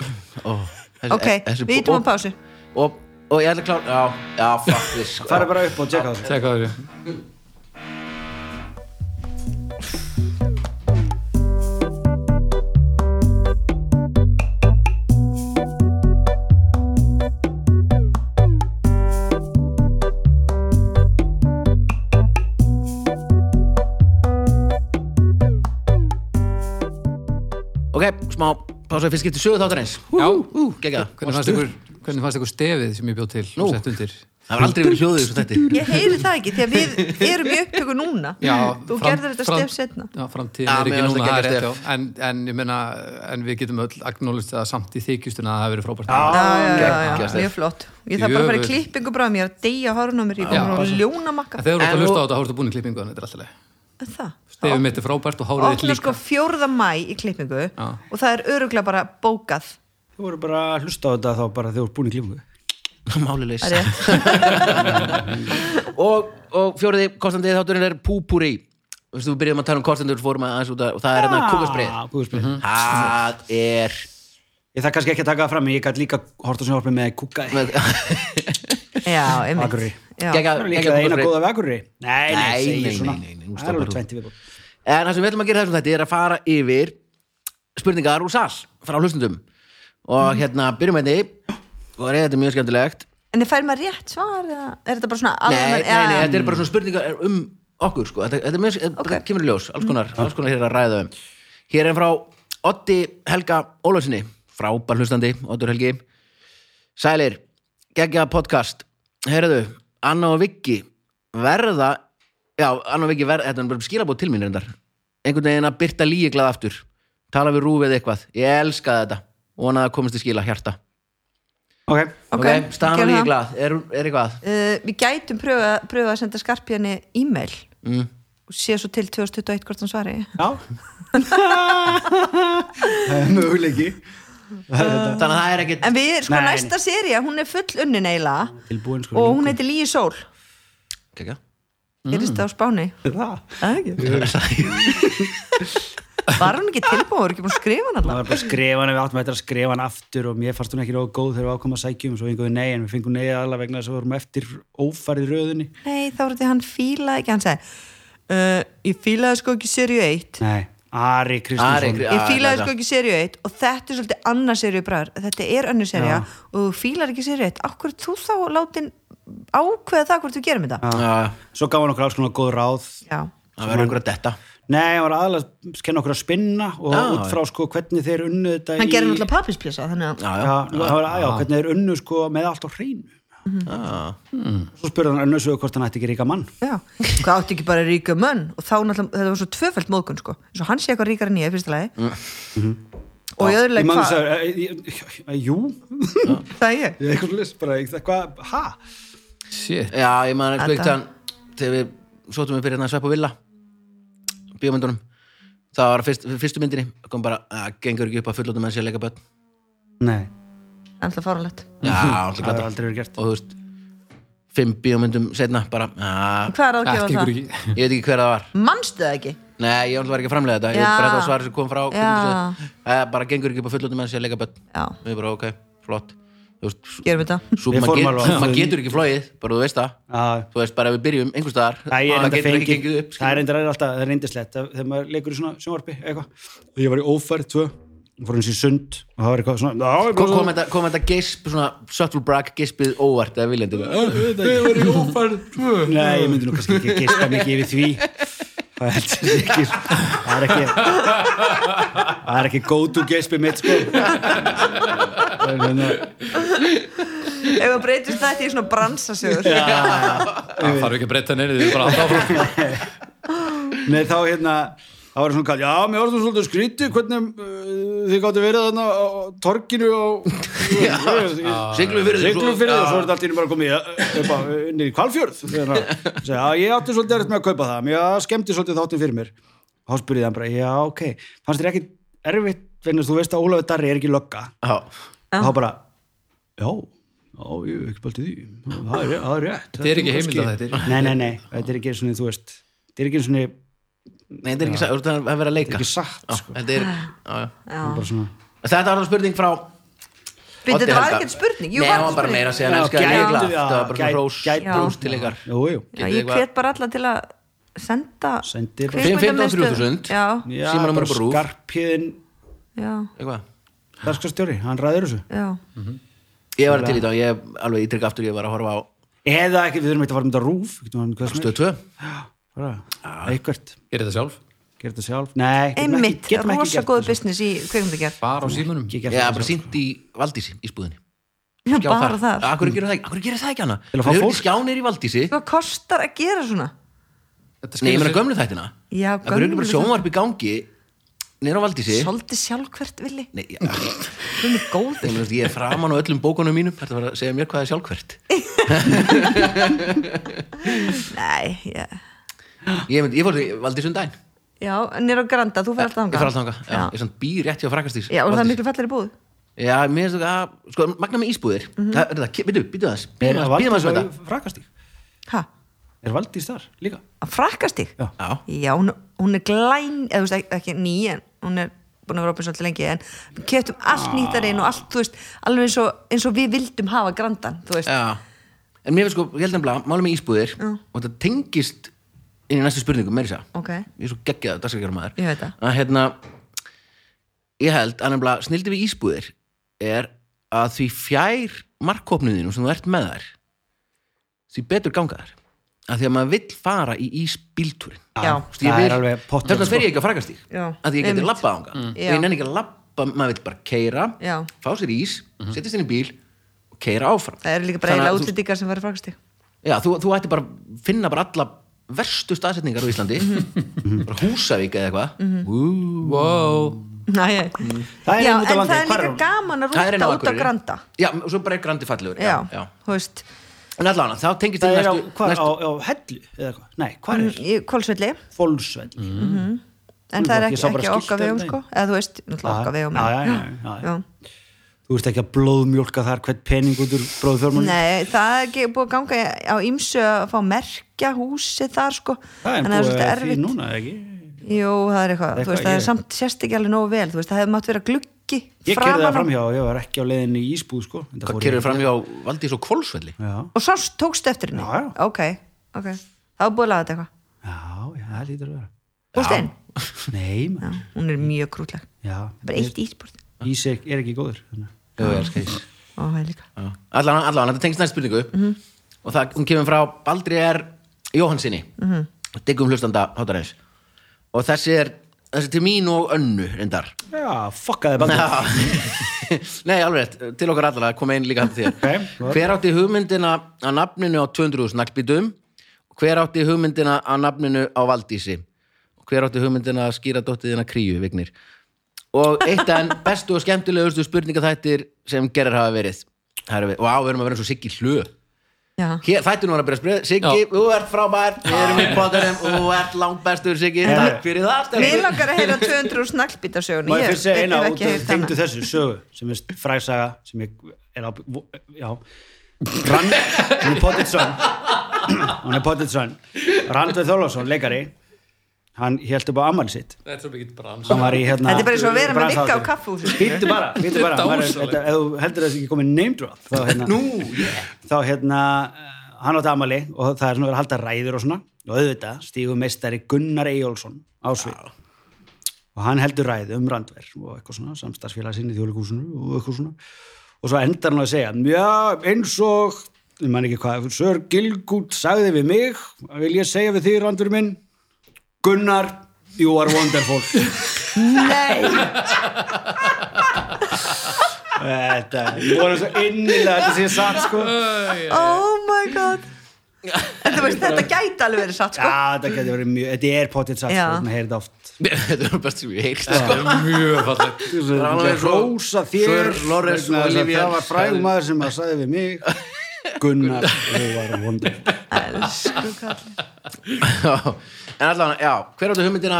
Speaker 1: ó, þessi,
Speaker 2: ok, við ítum á
Speaker 1: og,
Speaker 2: pásu
Speaker 1: og, og ég ætla að klára Já, já, fuck this
Speaker 3: fara bara upp og tjekka á þessu
Speaker 4: Tjekka á þessu.
Speaker 1: Ok, smá pása fyrst skipti sögu þáttarins
Speaker 4: Já.
Speaker 1: Ú, gegga
Speaker 4: Hvernig fannst ykkur, hvernig fannst ykkur stefið sem ég bjóð til
Speaker 1: Nú.
Speaker 4: og sett undir?
Speaker 1: Það var aldrei verið hljóðið þessu þetta
Speaker 2: Ég heyri það ekki, því að við erum í upptöku núna Þú gerðir þetta stef setna
Speaker 4: Já, framtíðin
Speaker 1: Já,
Speaker 4: er
Speaker 1: mér
Speaker 4: ekki
Speaker 1: fannst
Speaker 4: núna,
Speaker 1: það
Speaker 4: það er
Speaker 1: geggjað
Speaker 4: rétt, já. En, en ég meina, en við getum öll agnólist að samt í þykjustuna að það hafi verið frábært.
Speaker 2: Já, já, já, já,
Speaker 1: Geggjað stef.
Speaker 2: mjög flott Ég þarf bara að fara í
Speaker 4: Djöfull.
Speaker 2: klippingu bráðum, ég er að deyja hárun á mér Ég
Speaker 4: Já.
Speaker 2: komur á ljónamakka
Speaker 4: En þegar þú ert
Speaker 1: En
Speaker 4: að hlusta á
Speaker 1: þú-
Speaker 4: þetta, þá ertu búin í klippingu, þannig þetta er alltaf leið.
Speaker 2: Það,
Speaker 4: Stefið mitt er frábært og hárið þitt
Speaker 2: opna
Speaker 4: líka.
Speaker 2: sko 4. mæ í klippingu og það er öruglega bara bókað
Speaker 3: þú voru bara að hlusta á þetta þá bara þegar þú voru búin í klífingu
Speaker 1: Málilegs
Speaker 2: Það er rétt.
Speaker 1: og, og fjóriði kostandi þátturinn er púpúri Þú veist, við byrjum að tala um kostendur fórum aðeins út að, og það er þetta kúkasbreið
Speaker 3: kúkasbreið
Speaker 1: Mhm. Það er
Speaker 3: Ég þarf kannski ekki að taka það fram, ég gæti líka hort á sjónvarpi með kúka
Speaker 2: Já, einmitt
Speaker 3: Akureyri.
Speaker 2: Já.
Speaker 1: Gegga-
Speaker 3: Það er
Speaker 1: gegga
Speaker 3: líka það eina
Speaker 1: kúkasbreið.
Speaker 3: góða vegurri Nei, nei,
Speaker 1: Nei,
Speaker 3: segir
Speaker 1: nei,
Speaker 3: svona
Speaker 1: nei, nei, nei, hún
Speaker 3: Það er
Speaker 1: stoppar
Speaker 3: alveg
Speaker 1: hún.
Speaker 3: 20 viðbúr
Speaker 1: En það sem við ætlum að gera þessum þetta er að fara yfir spurningar úr sal frá hlustundum og hérna byrjum með því og reyða þetta er mjög skemmtilegt
Speaker 2: En það fær maður rétt svar eða er þetta bara svona
Speaker 1: Nei, nei,
Speaker 2: almenn-
Speaker 1: nei,
Speaker 2: eða-
Speaker 1: þetta er bara svona spurningar um okkur sko. þetta, þetta, er mjög, þetta kemur í ljós, alls
Speaker 2: Mm.
Speaker 1: konar, alls konar hér er að ræða um Hér er frá Otti Helga Ólafsinni frábær hlustandi, Ottur Helgi Sælir, geggja podcast Herðu, Anna og Viggi verða Já, Anna og Viggi verða, þetta er bara skilabótt til mín reyndar einhvern veginn að byrta líiglað aftur tala við rúfið eitthvað, ég elska þetta vona að það komist í skila hjarta
Speaker 3: Ok,
Speaker 2: Ok,
Speaker 1: okay staðan
Speaker 2: gerum
Speaker 1: og
Speaker 2: það.
Speaker 1: líiglað, er, er eitthvað
Speaker 2: Uh, Við gætum pröfa, pröfa að senda skarpjani e-mail
Speaker 1: mm.
Speaker 2: og sé svo til 2021 hvort hann svari
Speaker 3: já Það er Möguleiki
Speaker 1: Þannig að það er ekkit
Speaker 2: Eh, En við, sko,
Speaker 3: Nei.
Speaker 2: næsta seria, hún er full unnin eila
Speaker 3: Tilbúin sko
Speaker 2: og hún heitir Líi Sól
Speaker 1: Kekja. Mm.
Speaker 2: gerist það á Spáni
Speaker 3: Það
Speaker 2: Það er ekki.
Speaker 1: Það
Speaker 2: var hún ekki tilbúin, var ekki búin að skrifa hann
Speaker 3: Það
Speaker 2: allavega
Speaker 3: var bara að skrifa hann, við áttum eitthvað að skrifa hann aftur og mér fannst hún ekki nógu góð þegar við ákvæmum að sækjum og svo fengum við nei, en við fengum nei allavega vegna þess að við vorum eftir ófærið röðunni.
Speaker 2: nei, þá var þetta hann fílaði ekki hann sagði, uh, ég fílaði sko ekki serju 1
Speaker 3: Nei, Ari
Speaker 1: Ari
Speaker 3: Kristinsson.
Speaker 1: Kri-
Speaker 2: ég
Speaker 1: Já,
Speaker 2: fílaði
Speaker 1: þetta.
Speaker 2: sko ekki serju 1 og þetta er svolítið annar serju bræður þetta er önnur serja og þú fílar ekki serju 1 akkur þú þá látin ákveða það hvort þú gerum þetta
Speaker 1: Já,
Speaker 3: Svo gaf hann okkur alls konar góð ráð.
Speaker 2: já,
Speaker 1: það verður einhver að detta
Speaker 3: Nei, hann var aðalega að kenna okkur að spinna og
Speaker 1: Já,
Speaker 3: út frá sko hvernig þeir unnu þetta
Speaker 2: hann
Speaker 3: í...
Speaker 2: gerir náttúrulega pappisplessa þannig að
Speaker 1: Já,
Speaker 3: Já,
Speaker 1: já,
Speaker 3: það var, já, hvernig þeir unnu sko með allt á hreinu.
Speaker 1: já,
Speaker 3: Svo spurði hann önnu sögur hvort hann ætti ekki ríka mann.
Speaker 2: Já, hvað átti ekki bara ríka mönn og þá náttúrulega, þetta var svo tvöfælt móðgun sko eins og hann sé eitthvað ríkar en ég, fyrsta lagi og ég
Speaker 3: Ég
Speaker 2: öðrulega
Speaker 3: man
Speaker 2: hvað,
Speaker 3: þess að, eh, ég- eh, jú,
Speaker 2: það er ég
Speaker 3: ég eitthvað list bara, ég- hvað, ha?
Speaker 4: shit,
Speaker 1: já ég maður sko
Speaker 2: Þetta-
Speaker 1: eitt hann þegar við sóttum við fyrir hérna svepp og villa bíómyndunum það var fyrst, fyrstu myndinni kom bara, að gengur ekki upp að fullóta með sér að leika börn
Speaker 3: Nei,
Speaker 2: ennlega faranlegt
Speaker 1: já, alltaf
Speaker 3: það hefur
Speaker 1: glata
Speaker 3: aldrei verið gert.
Speaker 1: og þú veist, fimm bíómyndum setna bara, að,
Speaker 2: Hvað er
Speaker 4: það
Speaker 2: aðgjöfa
Speaker 4: gengur
Speaker 2: það?
Speaker 4: ekki
Speaker 1: ég veit ekki hver það var
Speaker 2: Manstu það ekki?
Speaker 1: nei, ég alltaf var ekki að framlega þetta ég
Speaker 2: Já.
Speaker 1: veit bara þetta var svar sem kom frá
Speaker 2: Já.
Speaker 1: kvikmyndasöðu. Eh, bara gengur ekki upp að fullóta með sér að leika börn
Speaker 2: Já,
Speaker 1: við bara, ok, flott þú veist,
Speaker 2: gerum við það
Speaker 1: svo
Speaker 3: Við
Speaker 1: maður
Speaker 3: fórum
Speaker 1: get,
Speaker 3: alveg á
Speaker 1: svo maður
Speaker 3: þau.
Speaker 1: getur ekki flóið bara þú veist það
Speaker 3: Já,
Speaker 1: þú veist bara ef við byrjum einhvers staðar
Speaker 3: Það er
Speaker 1: maður
Speaker 3: enda
Speaker 1: getur ekki
Speaker 3: fengið,
Speaker 1: gengið upp sko.
Speaker 3: það er enda alltaf, það er reyndislegt að- þegar maður leikur í svona sjónvarpi eitthvað. Ég var í ófæri tvö, fór hans í sund og það var eitthvað svona, já, ég
Speaker 1: kom, kom, þetta, kom þetta gisp, svona subtle brag gispið óvart eða viljandi
Speaker 3: ég var í ófæri tvö. Nei, ég myndi nú kannski ekki gispa mikið yfir því. Það er ekki, það er ekki, það er ekki gótu gispi mitt, sko. Það er hérna,
Speaker 2: Ef það breytist þetta í svona bransasögur
Speaker 4: það þarf ekki að breyta neyrið, þið er bara alltaf áfram
Speaker 3: Nei, þá hérna Það var svona kall, já, mér var það svolítið skrítið hvernig uh, þið gáttu verið þarna á á torginu á
Speaker 1: Ah. Siglufirði,
Speaker 3: Siglu
Speaker 1: svo- Ah.
Speaker 3: fyrir
Speaker 1: já.
Speaker 3: og svo er þetta allt í einu bara komið í- upp á, uh, niður í Hvalfjörð Þegar hann sagði, já, ég átti svolítið erfitt með að kaupa það mér skemmti svolítið þáttin fyrir mér þá spurði hann bara, já, ok fannst þér ekki erfitt, vegna þú veist að Ólafur Darri er ekki lögga
Speaker 1: Já.
Speaker 3: og þá bara, já Já, ég hef ekki bælt í því. Það er, það er rétt.
Speaker 4: Þetta er ekki
Speaker 3: kannski-
Speaker 4: heimildaþættir.
Speaker 3: Nei, nei, nei. Þetta er ekki svona, þú veist, þetta er ekki svona
Speaker 1: nei þetta er ekki satt, það er að vera að leika
Speaker 3: ekki satt
Speaker 1: Já,
Speaker 3: sko.
Speaker 1: þetta er já, já.
Speaker 3: bara svona
Speaker 1: þetta var það spurning frá Oddi
Speaker 2: Býttu, þetta var
Speaker 1: Helga.
Speaker 2: ekkert spurning Jú,
Speaker 1: nei,
Speaker 2: var
Speaker 1: það var bara meira
Speaker 2: spurning.
Speaker 1: að segja hann elskar
Speaker 3: Já, gætu-
Speaker 1: leikla
Speaker 3: já,
Speaker 1: það var bara svona
Speaker 3: gæ-
Speaker 1: rós,
Speaker 3: gætu-
Speaker 1: rós til ykkar
Speaker 3: jú, jú.
Speaker 2: Já,
Speaker 1: Getið
Speaker 2: ég
Speaker 1: eitthvað-
Speaker 2: hvet bara alla til að senda
Speaker 3: Sendi bara-
Speaker 2: kvikmyndamiðstöð-
Speaker 1: 515 3000.
Speaker 2: Já,
Speaker 3: Já,
Speaker 1: Símanúmer upp
Speaker 3: bara
Speaker 1: á RÚV.
Speaker 3: skarpiðin
Speaker 2: já,
Speaker 1: Eitthvað.
Speaker 3: dagskrastjóri, hann ræður þessu
Speaker 2: já
Speaker 1: ég var til í þetta og ég alveg ítrykk aftur ég var að horfa á
Speaker 3: eða ekki, við þurfum eitthvað að fara um þetta rúf getum við hvað sem
Speaker 1: stöð 2
Speaker 3: er eitthvað,
Speaker 4: er þetta sjálf,
Speaker 3: gera þetta sjálf nei, getum ekki,
Speaker 2: Einmitt,
Speaker 3: getum ekki
Speaker 2: rosa
Speaker 3: gert
Speaker 2: góðu
Speaker 3: þetta
Speaker 2: business í kvikmyndagerð
Speaker 4: bara á símanum
Speaker 3: Ekki
Speaker 1: ég
Speaker 3: gert
Speaker 1: var
Speaker 3: þetta
Speaker 1: bara
Speaker 3: sjálf.
Speaker 1: sínt í Valdísi í spúðinni
Speaker 2: Já, bara það
Speaker 1: akkur gerir það ekki, akkur gerir það ekki hana
Speaker 3: Til að fá
Speaker 1: þau eru
Speaker 3: fólk.
Speaker 1: skjánir í Valdísi
Speaker 2: Hvað kostar að gera svona?
Speaker 1: nei, ég
Speaker 4: Þetta
Speaker 1: meina
Speaker 4: skilar sér-
Speaker 1: gömlu þættina
Speaker 2: Já,
Speaker 1: akkur eru bara
Speaker 2: gömlu
Speaker 1: sjónvarp í gangi nýra á Valdísi
Speaker 2: Svolítið sjálfkvært villi
Speaker 1: nei, já
Speaker 2: Hún er góð
Speaker 1: Ég, meni, ég er framan á öllum bókunum mínum Þetta var að segja mér hvað er sjálfkvært
Speaker 2: Nei, ég
Speaker 1: Ég, myndi, ég fór því, valdi sundæn Ég
Speaker 2: Já, en er á Granda, þú fyrir alltaf þangað
Speaker 1: fór alltaf þangað já. Ég
Speaker 2: Já,
Speaker 1: er svona býr rétt hjá frakastís
Speaker 2: já og það er miklu fallir í búð
Speaker 1: Já, mér finnst þú að, sko, magna með ísbúðir
Speaker 2: Mhm.
Speaker 1: Það er það, býtum, býtum aðeins
Speaker 3: er
Speaker 1: Býtum aðeins, býtum aðeins með
Speaker 3: Valdís
Speaker 1: þetta
Speaker 3: frakastík
Speaker 2: Hæ,
Speaker 3: er Valdís þar líka
Speaker 2: að frakkast þig?
Speaker 3: Já.
Speaker 1: Já,
Speaker 2: Já, hún, hún er glæn eða þú veist ekki, ekki ný en hún er búin að vera opið svolítið lengi en við keftum
Speaker 3: Ah.
Speaker 2: allt nýttarinn og allt, þú veist alveg eins og, eins og við vildum hafa Grandan þú
Speaker 3: Eh.
Speaker 2: veist,
Speaker 1: já En mér finnst sko, ég held nefnilega, máli með ísbúðir Og þetta tengist inn í næstu spurningum, meiri sá
Speaker 2: ok
Speaker 1: Ég er svo geggjað, dagskakjarum maður
Speaker 2: Ég veit það.
Speaker 1: Að hérna, ég held að nefnilega snildi við ísbúðir Er að því fjær markkopnuðinu sem þú ert með þær Því betur ganga þær Að því að maður vill fara í ísbíltúrin
Speaker 2: Já,
Speaker 1: Þú veist, ég
Speaker 3: Það er
Speaker 1: vil-
Speaker 3: alveg pottur,
Speaker 1: þarna fer
Speaker 3: sko.
Speaker 1: ég ekki að frakastík
Speaker 2: Já,
Speaker 1: að ég geti
Speaker 2: einmitt.
Speaker 1: labbað ánga mm.
Speaker 2: Já.
Speaker 1: ég nenni ekki að labba, maður vil bara keira
Speaker 2: Já.
Speaker 1: fá sér ís,
Speaker 3: Mhm.
Speaker 1: setjast inn í bíl og keira áfram
Speaker 2: það eru líka bara
Speaker 1: Þannig að
Speaker 2: eiginlega
Speaker 1: þú-
Speaker 2: útlendingar sem verður frakkast þig
Speaker 1: já, þú, þú ætti bara að finna bara alla verstu staðsetningar á Íslandi
Speaker 2: Mhm.
Speaker 1: bara Húsavík eða eitthvað Ú,
Speaker 4: wow,
Speaker 2: Næ,
Speaker 3: Mm. Það er
Speaker 2: já,
Speaker 3: einmitt á
Speaker 2: en
Speaker 3: landi.
Speaker 2: það er
Speaker 3: Hvar
Speaker 2: líka
Speaker 3: er hún?
Speaker 2: gaman að
Speaker 1: það er enn
Speaker 2: rúta
Speaker 1: á
Speaker 2: út á
Speaker 1: Akureyri.
Speaker 2: Granda
Speaker 1: já, og svo bara er grandi fallegur
Speaker 2: já,
Speaker 1: já.
Speaker 2: þú veist
Speaker 1: en allan, þá tengist
Speaker 3: það
Speaker 1: til
Speaker 3: er á,
Speaker 1: næstu,
Speaker 3: hvar,
Speaker 1: næstu
Speaker 3: á, á hellu eða hvað, nei, hvað er
Speaker 2: í Kolsvelli
Speaker 3: fólksveld
Speaker 2: en það er
Speaker 3: Ég
Speaker 2: ekki,
Speaker 3: sá bara
Speaker 2: ekki á okkar
Speaker 3: skilti
Speaker 2: vegum
Speaker 3: um
Speaker 2: sko eða þú veist, náttúrulega
Speaker 3: Já,
Speaker 2: okkar vegum
Speaker 3: já,
Speaker 2: en-
Speaker 3: Ah, já, já, já, já.
Speaker 2: Já.
Speaker 3: þú veist ekki að blóðmjólka þar hvert pening út úr bróðfjörmunni
Speaker 2: Nei, það er ekki búið að ganga á ýmsu að fá merkja húsi þar sko
Speaker 3: það er
Speaker 2: Þannig að
Speaker 3: búið
Speaker 2: svolítið
Speaker 3: að því
Speaker 2: erfitt
Speaker 3: núna, ekki
Speaker 2: Jú, það er eitthvað, þú
Speaker 3: Eitthvað,
Speaker 2: veist, það er
Speaker 3: ég-
Speaker 2: samt sérst ekki alveg nógu vel, þú veist, það hefði mátt vera gluggi
Speaker 3: Ég kerði það
Speaker 2: framan á-
Speaker 3: framhjá og ég var ekki á leiðinni í ísbúð sko. Enda
Speaker 1: Hvað
Speaker 3: fór ég-
Speaker 1: kerður fram hjá Valdís og Kvolsvelli?
Speaker 3: Já,
Speaker 2: Og sást tókst eftir henni?
Speaker 3: Já, já.
Speaker 2: Ok, ok, það var búið að laga þetta eitthvað
Speaker 3: já, já, það lítur að vera
Speaker 2: Búst einn?
Speaker 3: Nei, maður
Speaker 2: Já, hún er mjög krútleg
Speaker 3: Já,
Speaker 2: Það er bara eitt ísbúrt
Speaker 3: ís er, er ekki góður þannig.
Speaker 1: Jú, ég elska
Speaker 3: Mhm.
Speaker 1: því.
Speaker 2: Ó, það er líka
Speaker 1: Já. Allan, allan, þetta tengst næst spurningu
Speaker 2: Mhm.
Speaker 1: og það, hún kemur frá Baldri R. Jóhansinni mm
Speaker 2: Mhm.
Speaker 1: -hmm. diggum hlustanda hátarins og þessi er, þessi er til mín og önnu reyndar
Speaker 3: Já, fuckaði bara
Speaker 1: Já. Nei, alveg rétt, til okkar allara kom einn líka til þér
Speaker 3: Ok.
Speaker 1: Hver átti hugmyndina að nafninu á 200.000 naglbítum Hver átti hugmyndina að nafninu á Valdísi Hver átti hugmyndina að skýra dóttiðina kríu, Vignir Og eitt en bestu og skemmtilegustu spurningaþættir sem gerir hafa verið Það eru við, og á, við erum að vera eins og Siggi Hlö
Speaker 2: Já,
Speaker 1: Hér, þættinu var að byrja að spyrja Siggi,
Speaker 4: Já.
Speaker 1: þú ert frábær, við erum í bóðarum Þú ert langt bestur, Siggi, takk fyrir það stelpur.
Speaker 2: Mér langar að heyra 200 snaglbítarsögun
Speaker 3: Má ég fyrst segja eina út og tengdu þessu sögu sem er fræsaga sem ég er á vo- já Rand, hún er Pottitsson hún er Pottitsson Randveð Þorlásson, leikari hann held upp á ammali sitt
Speaker 4: Þetta er svo mikið brans
Speaker 3: hann var í hérna
Speaker 2: Þetta er bara eins og að vera með
Speaker 3: branshátíð.
Speaker 2: Vigga á kaffhúsi, skilur.
Speaker 3: Bíddu bara, bíddu bara
Speaker 4: Þetta er
Speaker 3: Maður er-
Speaker 4: dásamlegt.
Speaker 3: þetta- ef þú heldur þess ekki komið name drop þá hérna, Nú, yeah. þá hérna eh, hann átti ammali og það er svona verið að halda ræður og svona og auðvitað stígu meistari Gunnar Eyjólfsson á svið og hann heldur ræðu um randver og eitthvað svona, samstarfsfélag sinni í þjóðleikúsinu og eitthvað svona og svo endar hann á að segja já, eins og, ég man ekki hvað Sör Gilgút sagði við mig vil ég segja við því randur minn Gunnar, you are wonderful
Speaker 2: Nei,
Speaker 3: þetta, ég voru svo innilega að þetta sé satt sko já,
Speaker 2: oh my god Þetta, veist, þetta gæti alveg verið satt sko
Speaker 3: þetta getur verið mjög, þetta er potið satt sko,
Speaker 2: Já.
Speaker 3: maður heyrði oft
Speaker 1: Þetta er best sem ég sko. heyrst
Speaker 4: Það er mjög fallegt
Speaker 1: er alveg
Speaker 3: Ég
Speaker 1: svo-
Speaker 3: hrósa
Speaker 1: Sir
Speaker 3: þér
Speaker 1: Lawrence
Speaker 3: vegna þess að
Speaker 1: Olivier.
Speaker 3: það var frægum maður sem að sagði við mig Gunnar, þú var wonderful
Speaker 2: Elsku kallinn
Speaker 1: Já, en allavega, já, hver áttu hugmyndina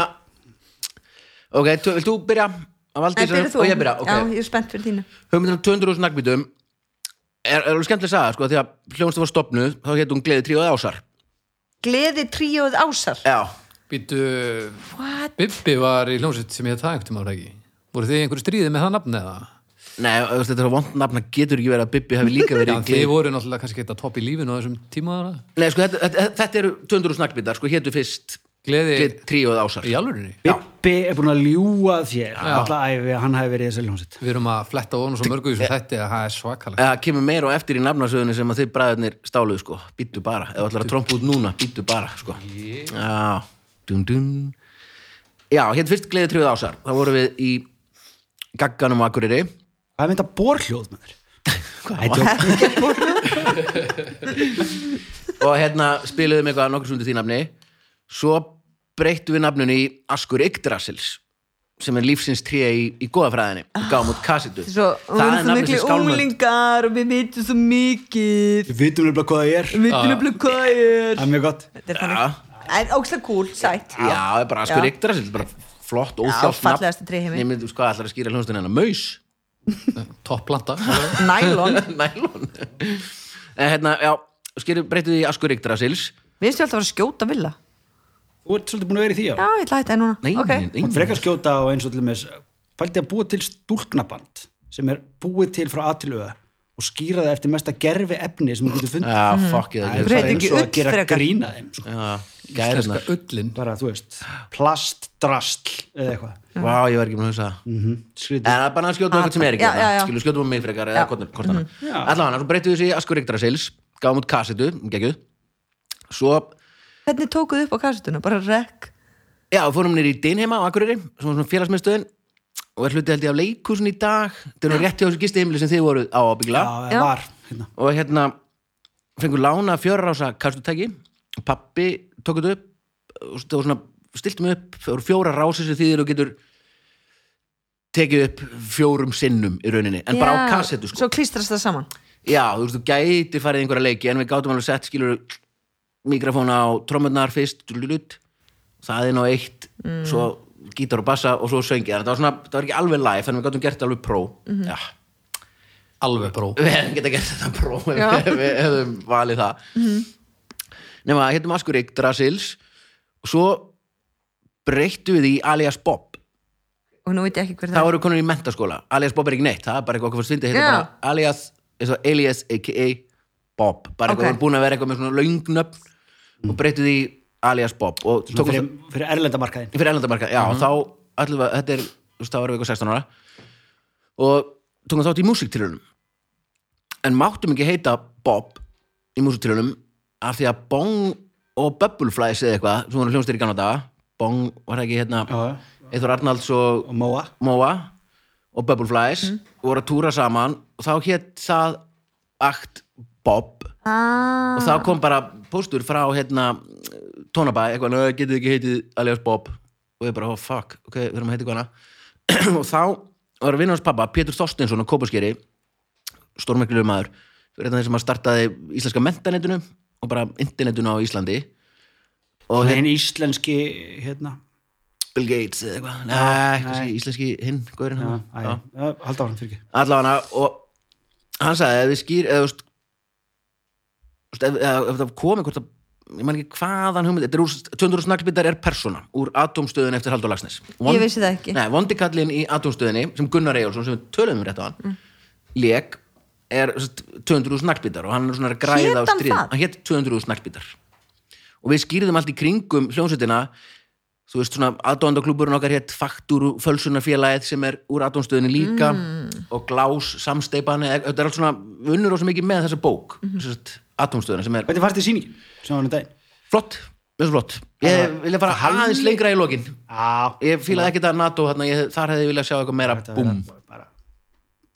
Speaker 1: ok, tu- vilt þú byrja að valdi
Speaker 2: Nei, byrja þú
Speaker 1: og ég byrja, ok
Speaker 2: Já, ég er spennt fyrir þínu
Speaker 1: hugmyndina um 200.000 nagbítum er, er alveg skemmtileg saga, sko, því að hljónstu var stopnuð þá hétt hún gleði tríóð ásar
Speaker 2: Gleði tríóð ásar
Speaker 1: já,
Speaker 4: Býtu,
Speaker 2: What?
Speaker 4: Bibbi var í hljómsveit sem ég hef það einhvern tímann var það ekki Voru þið í einhverju stríði með það nafn eða?
Speaker 1: nei, þú veist, þetta er vond nafna getur ekki verið að Bibbi hafi líka
Speaker 4: Já,
Speaker 1: verið
Speaker 4: þið
Speaker 1: gleði
Speaker 4: voru náttúrulega kannski geta topp í lífinu á þessum tíma þarna
Speaker 1: nei, sko, þetta, þetta, þetta eru 200.000 nagbítar, sko, héttu fyrst
Speaker 4: Gleði
Speaker 1: gleði tríóð ásar
Speaker 4: í alvörinni
Speaker 3: Bippi er búin að ljúga þér alltaf æfi að hann hafi verið í þessari hljómsveit
Speaker 4: Við erum að fletta ofan og svo mörgu í þessu þætti að það er svakalegt
Speaker 1: það kemur meira og eftir í nafnasöðunni sem að þið bræðurnir stáluðu sko, býttu bara ef þú ætlar að trompa út núna, býttu bara sko. já, dum dum já, hérna fyrst gleði tríuð ásar þá vorum við í gagganum á Akureyri
Speaker 3: Hvað er mynda borhljóð maður? Hvað er
Speaker 1: og hérna spiluðum eitthvað nokkur sundur því nafni svo breyttu við nafninu í Askur Yggdrasils sem er lífsins tríja í, í goðafræðinni og gáum út kassitu
Speaker 2: Svo, við erum svo miklu
Speaker 1: skálmöld-
Speaker 2: unglingar og við vitum svo mikið
Speaker 3: Við vitum nefnilega hvað það er
Speaker 2: Við vitum nefnilega hvað það er
Speaker 3: Það er mjög gott
Speaker 2: Þetta er
Speaker 1: Ah. Já.
Speaker 2: þannig Það er ógstlega cool, sætt
Speaker 1: Já, það er bara Askur
Speaker 2: Já.
Speaker 1: Yggdrasils bara flott, óþjátt
Speaker 2: fallegasta tré í heimi.
Speaker 1: Nefnir, sko, allar að skýra hljónstunni hennar Maus
Speaker 4: Topp planta
Speaker 2: Nælon
Speaker 1: nælón en hérna, já, skeru breytið í Askur Yggdrasils
Speaker 2: Við erum alltaf að fara að skjóta villa
Speaker 3: Þú ert svolítið búin að vera í því
Speaker 2: Já,
Speaker 3: á
Speaker 2: ég ætla að hætta það núna
Speaker 1: Nei,
Speaker 2: Ok.
Speaker 1: nei,
Speaker 3: Hún frekar sko. skjóta á eins og til með Fældi að búa til stúlknaband sem er búið til frá aðtilöða og skýra það eftir mesta gerfi efni sem hún getur fundið
Speaker 1: Já,
Speaker 2: Mhm.
Speaker 1: fuck ég
Speaker 3: Það er
Speaker 1: það
Speaker 2: Breytið ekki
Speaker 3: bara eins og að
Speaker 2: ull
Speaker 3: gera
Speaker 2: frekar.
Speaker 3: grína þeim sko.
Speaker 1: Já,
Speaker 4: Íslenska
Speaker 1: gæðurnar
Speaker 2: hérna.
Speaker 4: ullin
Speaker 3: bara, þú veist, plastdrasl eða eitthvað
Speaker 1: Vá, ég var ekki með að hugsa það
Speaker 3: Mhm.
Speaker 1: En
Speaker 3: Skrítið.
Speaker 1: það er bara að skjóta okkur sem er ekki
Speaker 2: Ah, Já, já, já.
Speaker 1: þarna. Skilu, skjóta um mig frekar eða
Speaker 2: Já. Mhm.
Speaker 1: hvort hvort annað
Speaker 3: Já.
Speaker 1: Allavega, svo breytið þessi í Askur Yggdrasils gáum út kassitu, geggjuð Svo,
Speaker 2: Hvernig tókuðu upp á kassetuna? Bara rekk
Speaker 1: já, fórum nýr í Dinheima á Akureyri sem var svona félagsmiðstöðin og er hlutið held ég af leikúsin í dag Þetta er nú rétt hjá þessu gistiheimili sem þið voruð á ábyggla
Speaker 3: Já, það
Speaker 2: Já.
Speaker 3: var hérna.
Speaker 1: og hérna fengur lána fjöra rása kastutæki pappi tók þetta upp og það var svona, stiltum upp það voru fjóra rási sem þýðir og getur tekið upp fjórum sinnum í rauninni, en bara á
Speaker 2: Já,
Speaker 1: kassetu sko.
Speaker 2: Svo klístrast það saman
Speaker 1: já, þú veist, þú gæti farið í einhverja leiki en við gátum alveg sett, skilur mikrofóna á trommunnar fyrst lulut, það er ná eitt svo gítar og bassa og svo söngi þannig að það var svona, það var ekki alveg live þannig að við gátum gert alveg pró já,
Speaker 4: Alveg bró
Speaker 1: við hefum getað gert þetta próf ef
Speaker 2: Já.
Speaker 1: við- við hefum valið það hérna mm -hmm. nema að héttum Askur Yggdrasils og svo breyttu við því í alias Bob
Speaker 2: og nú veit ég ekki hver
Speaker 1: þá
Speaker 2: það er
Speaker 1: eru konur í mentaskóla, alias Bob er ekki neitt það er bara eitthvað okkur fannst fyndið, heitir
Speaker 2: Já.
Speaker 1: hérna bara alias eins og alias aka Bob bara
Speaker 2: Ok.
Speaker 1: eitthvað, okay. búin að vera eitthvað með svona laungnöfn og breyttu því í alias Bob og tókum
Speaker 3: fyrir, fyrir erlendamarkaðin
Speaker 1: fyrir erlendamarka, já, þá ætlum við, að- þetta er, þú veist, þá erum við eitthvað 16 ára og tókum þátt í músiktilunum en máttum ekki heita Bob í músiktilunum af því að Bong og Bubbleflies eða eitthvað, sem voru hljómstir í gamla daga Bong var það ekki hérna
Speaker 3: Já, já.
Speaker 1: Eithor Arnalds og
Speaker 3: og Móa
Speaker 1: Móa og Bubbleflies voru að túra saman og þá hétt það akt Bob
Speaker 2: ah,
Speaker 1: og þá kom bara póstur frá hérna tónabæ, eitthvað, "Nei, getið þið ekki heitið alias Bob og ég bara, oh fuck, ok, við erum að heita eitthvað hana og þá var að vinna hans pappa, Pétur Þorstinsson á Kópaskeri stórmeklilega maður fyrir þetta þeir sem að startaði íslenska mentanetinu og bara internetinu á Íslandi og
Speaker 3: og
Speaker 1: hérna
Speaker 3: hinn íslenski hérna
Speaker 1: Bill Gates eða eitthvað, nei, kannski íslenski hinn, góðurinn
Speaker 3: já,
Speaker 1: hann
Speaker 3: æ, já, halda áfram fyrir ekki
Speaker 1: allavega og hann sagði ef þið skýr eða, þú veist, þú veist, ef, ef, ef það komi hvort að ég man ekki hvaðan hugmynd þetta er úr 200 snaglbindar er persóna úr atomstöðin eftir Haldur Lagsnes
Speaker 2: Ég vissi það ekki.
Speaker 1: nei, vondikallin í atomstöðinni sem Gunnar Eyjálsson sem við töluðum um rétt á hann mm. lék er þú veist, 200 snaglbindar og hann er svona að
Speaker 2: Hét
Speaker 1: græða á
Speaker 2: hann
Speaker 1: stríð
Speaker 2: það?
Speaker 1: hann hétt 200 snaglbindar og við skýrðum allt í kringum hljómsveitina þú veist svona aðdóðandakluburinn okkar hétt faktúru fölsunarfélagið sem er úr aðdóðanstöðinni líka
Speaker 3: Mm.
Speaker 1: og glás samsteipan eða- þetta er allt svona við unnur og svo mikið með þessa bók
Speaker 3: Mhm.
Speaker 1: mm -hmm. aðdóðanstöðina sem er
Speaker 3: hvernig fannst þið sýningin sem var hann daginn
Speaker 1: flott, mjög svo flott ég vilja fara aðeins lengra í lokin
Speaker 3: já,
Speaker 1: ég fílaði ekkert að NATO þarna, ég, þar hefði ég viljað sjá eitthvað meira
Speaker 3: þetta
Speaker 1: búm,
Speaker 3: var bara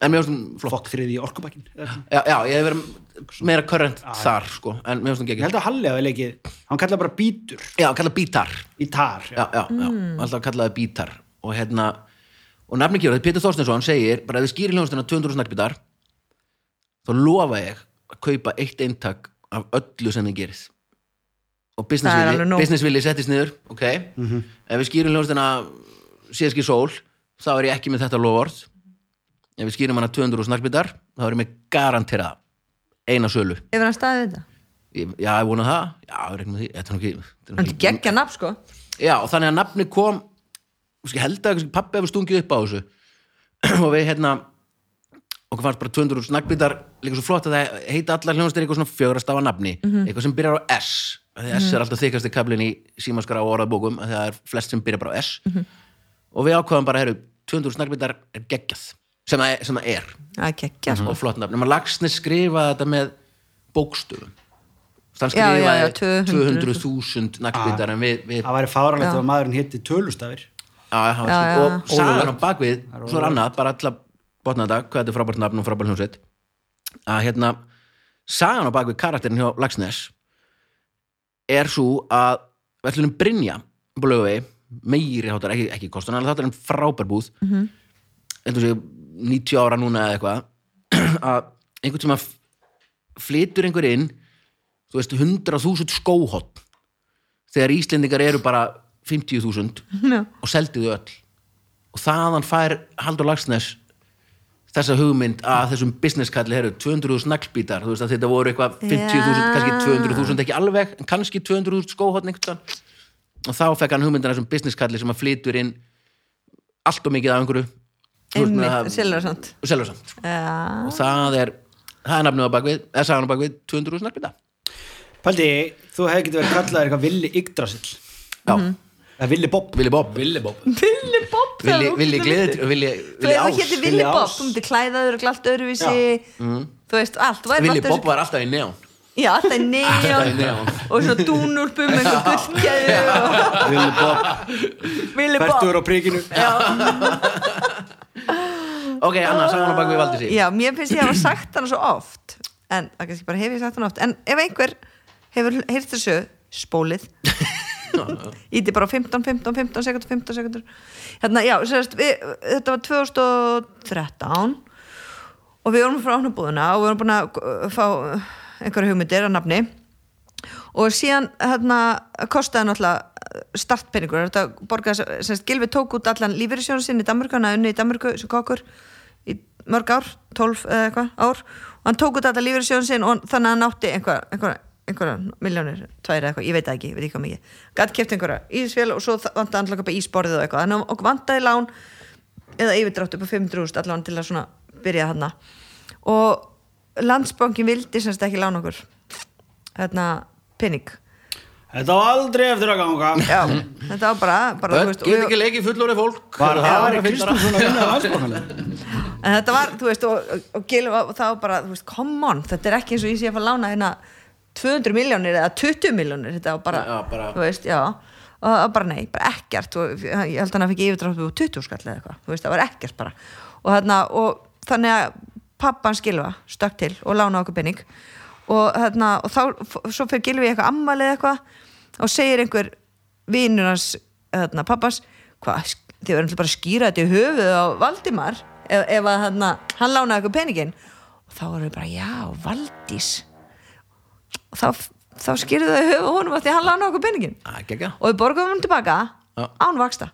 Speaker 1: en mjög svona flott
Speaker 3: fokk þriði í orkubakkin ég
Speaker 1: já, já, ég hef verið meira current þar sko, en mjög svona geggjum
Speaker 3: held að Halli hafi leikið hann kallar bara bítur
Speaker 1: já, kallað bítar
Speaker 3: í tar já.
Speaker 1: já, já,
Speaker 2: Mm.
Speaker 1: já, alltaf kallaði bítar og hérna, og nafni kjóra Pétur Þorstinsson segir, bara ef þið skýri hljónstuna 200 snakkbítar þá lofa ég að kaupa eitt eintak af öllu sem þið gerist og
Speaker 2: Það er alveg
Speaker 1: businessvilli
Speaker 2: nóg.
Speaker 1: businessvilli settist niður, ok ef við skýrum hljónstuna síðaski sól, þá er ég ekki með þetta loford ef við skýrum hana 200 snakkbítar, þá er ég með garanterað eina sölu
Speaker 2: hefur hann staðið þetta
Speaker 1: ég, já, ég vona það, já, ég reikna með því þetta er nú ekki, þetta er nú
Speaker 2: hann er
Speaker 1: ekki
Speaker 2: geggja nafn sko
Speaker 1: Já, og þannig að nafni kom ég held að pappi hefur stungið upp á þessu og við hérna okkur fannst bara 200 snakkbítar líka svo flott að það heita allar hljónastir eitthvað svona fjögrastafa nafni,
Speaker 2: Mhm.
Speaker 1: eitthvað sem byrjar á S af því að S er alltaf þykast í kablin í símaskara og orðabókum, af því að það er flest sem byrjar bara á S
Speaker 2: Mhm.
Speaker 1: og við ákvaðum bara, heyrðu 200 snakkbítar er geggjað sem það er, sem það er
Speaker 2: það er geggja sko
Speaker 1: og flott nafn, nema Lagsnes skrifaði þetta með bókstöfum hann
Speaker 2: Já, já, já,
Speaker 1: skrifaði
Speaker 2: 200.000
Speaker 1: 200.000 nakkbítar en við, við
Speaker 3: það væri fáránlegt
Speaker 2: Já.
Speaker 3: ef maðurinn hitti tölustafir
Speaker 1: já, já,
Speaker 2: Já,
Speaker 1: já.
Speaker 2: já.
Speaker 1: og sagan á bakvið svo er annað, bara alltaf botna þetta hvað þetta er frábært nafn og frábært hljómsveit að hérna, sagan á bakvið karakterin hjá Lagsnes er svo að verðlunum Brynja blöfi, meiri hátar, ekki, ekki kostun en þetta er en frábær búð mm -hmm. sig, 90 ára núna eða eitthvað að einhvern tíma flytur einhver inn þú veist, 100.000 skóhott þegar Íslendingar eru bara 50.000
Speaker 2: Já.
Speaker 1: og seldi þau öll og þaðan fær Haldur Lagsnes þessa hugmynd að þessum businesskalli herru, 200.000 naglbítar þú veist að þetta voru eitthvað 50.000
Speaker 2: Já.
Speaker 1: kannski 200.000 ekki alveg, en kannski 200.000 skóhotn einhvern veginn og þá fekk hann hugmyndina þessum businesskalli sem að flytur inn allt og mikið af einhverju Þú veist, með
Speaker 2: einmitt,
Speaker 1: það-
Speaker 2: selur það samt
Speaker 1: og selur samt sko.
Speaker 2: Já.
Speaker 1: og það er, það er nafnum á bakvið eða sagan á bakvið 200.000 naglbítar
Speaker 3: Paldi, þú hefði getið verið kallaðir eitthvað Villi Yggdrasil
Speaker 1: já,
Speaker 2: Mhm.
Speaker 3: eða Villi Bob
Speaker 1: Willi Bob
Speaker 4: Villi Bob
Speaker 2: Billy Bob það
Speaker 1: Willi Willi
Speaker 2: var ógeðslega
Speaker 1: Gleðit
Speaker 2: fyndið.
Speaker 1: Willi
Speaker 2: Þú
Speaker 1: Willi
Speaker 2: veist, þú
Speaker 1: Ás
Speaker 2: hétti
Speaker 3: Willi
Speaker 2: Willi Bob,
Speaker 3: Ás.
Speaker 2: þú myndir klæðaður og glalt öðruvísi þú veist, allt væri
Speaker 1: Willi
Speaker 2: allt
Speaker 1: Bob var alltaf í neon
Speaker 2: já, alltaf í
Speaker 1: Alltaf í
Speaker 2: neon
Speaker 1: neon.
Speaker 2: og svona dúnúlpum með einhver gullkeðu
Speaker 3: Villi Bob,
Speaker 2: Willi
Speaker 3: Bertur
Speaker 2: Bob
Speaker 3: á prikinu
Speaker 1: ok, annars sagan á bakvið valdi sig
Speaker 2: Mm. já, mér finnst ég að hafa sagt hana svo oft en, það kannski bara hef ég sagt hana oft en ef einhver hefur heyrt þessu spólið íti bara á 15, 15, 15 sekundur 15 sekundur hérna, já, sérst, við, þetta var 2013 og við vorum frá ánabúðuna og við vorum búin að uh, fá uh, einhverja hugmyndir að nafni og síðan hérna kostaði náttúrulega startpenningur þetta borgaði, sem sagt, Gilvi tók út allan lífeyrissjónu sinni í Danmörku, hann hafði unni í Danmörku sem kokkur í mörg ár 12 eða eitthvað ár og hann tók út allan lífeyrissjónu sinni og hann- þannig að hann átti einhver, einhver einhverja miljónir, tværi eitthvað, ég veit það ekki, ég veit ekki hvað mikið gætt keft einhverja ísfél og svo þa- vantaði alltaf eitthvað ísborðið og eitthvað þannig að okkur vantaði lán eða yfirdrátt upp á 500.000 allan til að svona byrja þarna og landsbankin vildi semst ekki lán okkur þarna Hérna, pening
Speaker 3: Þetta var aldrei eftir að ganga
Speaker 2: Já, þetta var bara, bara þú
Speaker 1: Börn
Speaker 2: veist, og
Speaker 1: get
Speaker 2: ég-
Speaker 1: ekki leikið fullorðið fólk
Speaker 3: Var
Speaker 1: Já,
Speaker 3: það
Speaker 1: bara fyndara.
Speaker 3: Kristússon að vinna landsbókanlega?
Speaker 2: en þetta var, þú veist, og, og, og Gil og það var bara, þú veist, come on þetta er ekki eins og ég sé að fara að lána hérna 200 miljónir eða 20 miljónir þetta var bara,
Speaker 1: Já, bara-
Speaker 2: þú veist, já og það var bara nei, bara ekkert og ég held að hann að fikk yfirdráttu og 20 skall eða eitthvað þú veist, það var ekkert bara og, þarna, og þannig að pappan Gilva stökk til og lána okkur penning og, þarna, og þá, f- svo fyrir Gilvi í eitthvað ammalið eitthvað og segir einhver vinur hans, þarna, pappas hvað, þið verðum bara að skýra þetta í höfuð á Valdimar ef, ef að þarna, hann lánaði eitthvað peningin og þá voru við bara, já, Valdís og þá, þá skýrðu þau í höfuð á honum af því að hann lánaði okkur peningin
Speaker 1: Æ, geggja.
Speaker 2: og við borgum hann tilbaka
Speaker 1: Já.
Speaker 2: án vaksta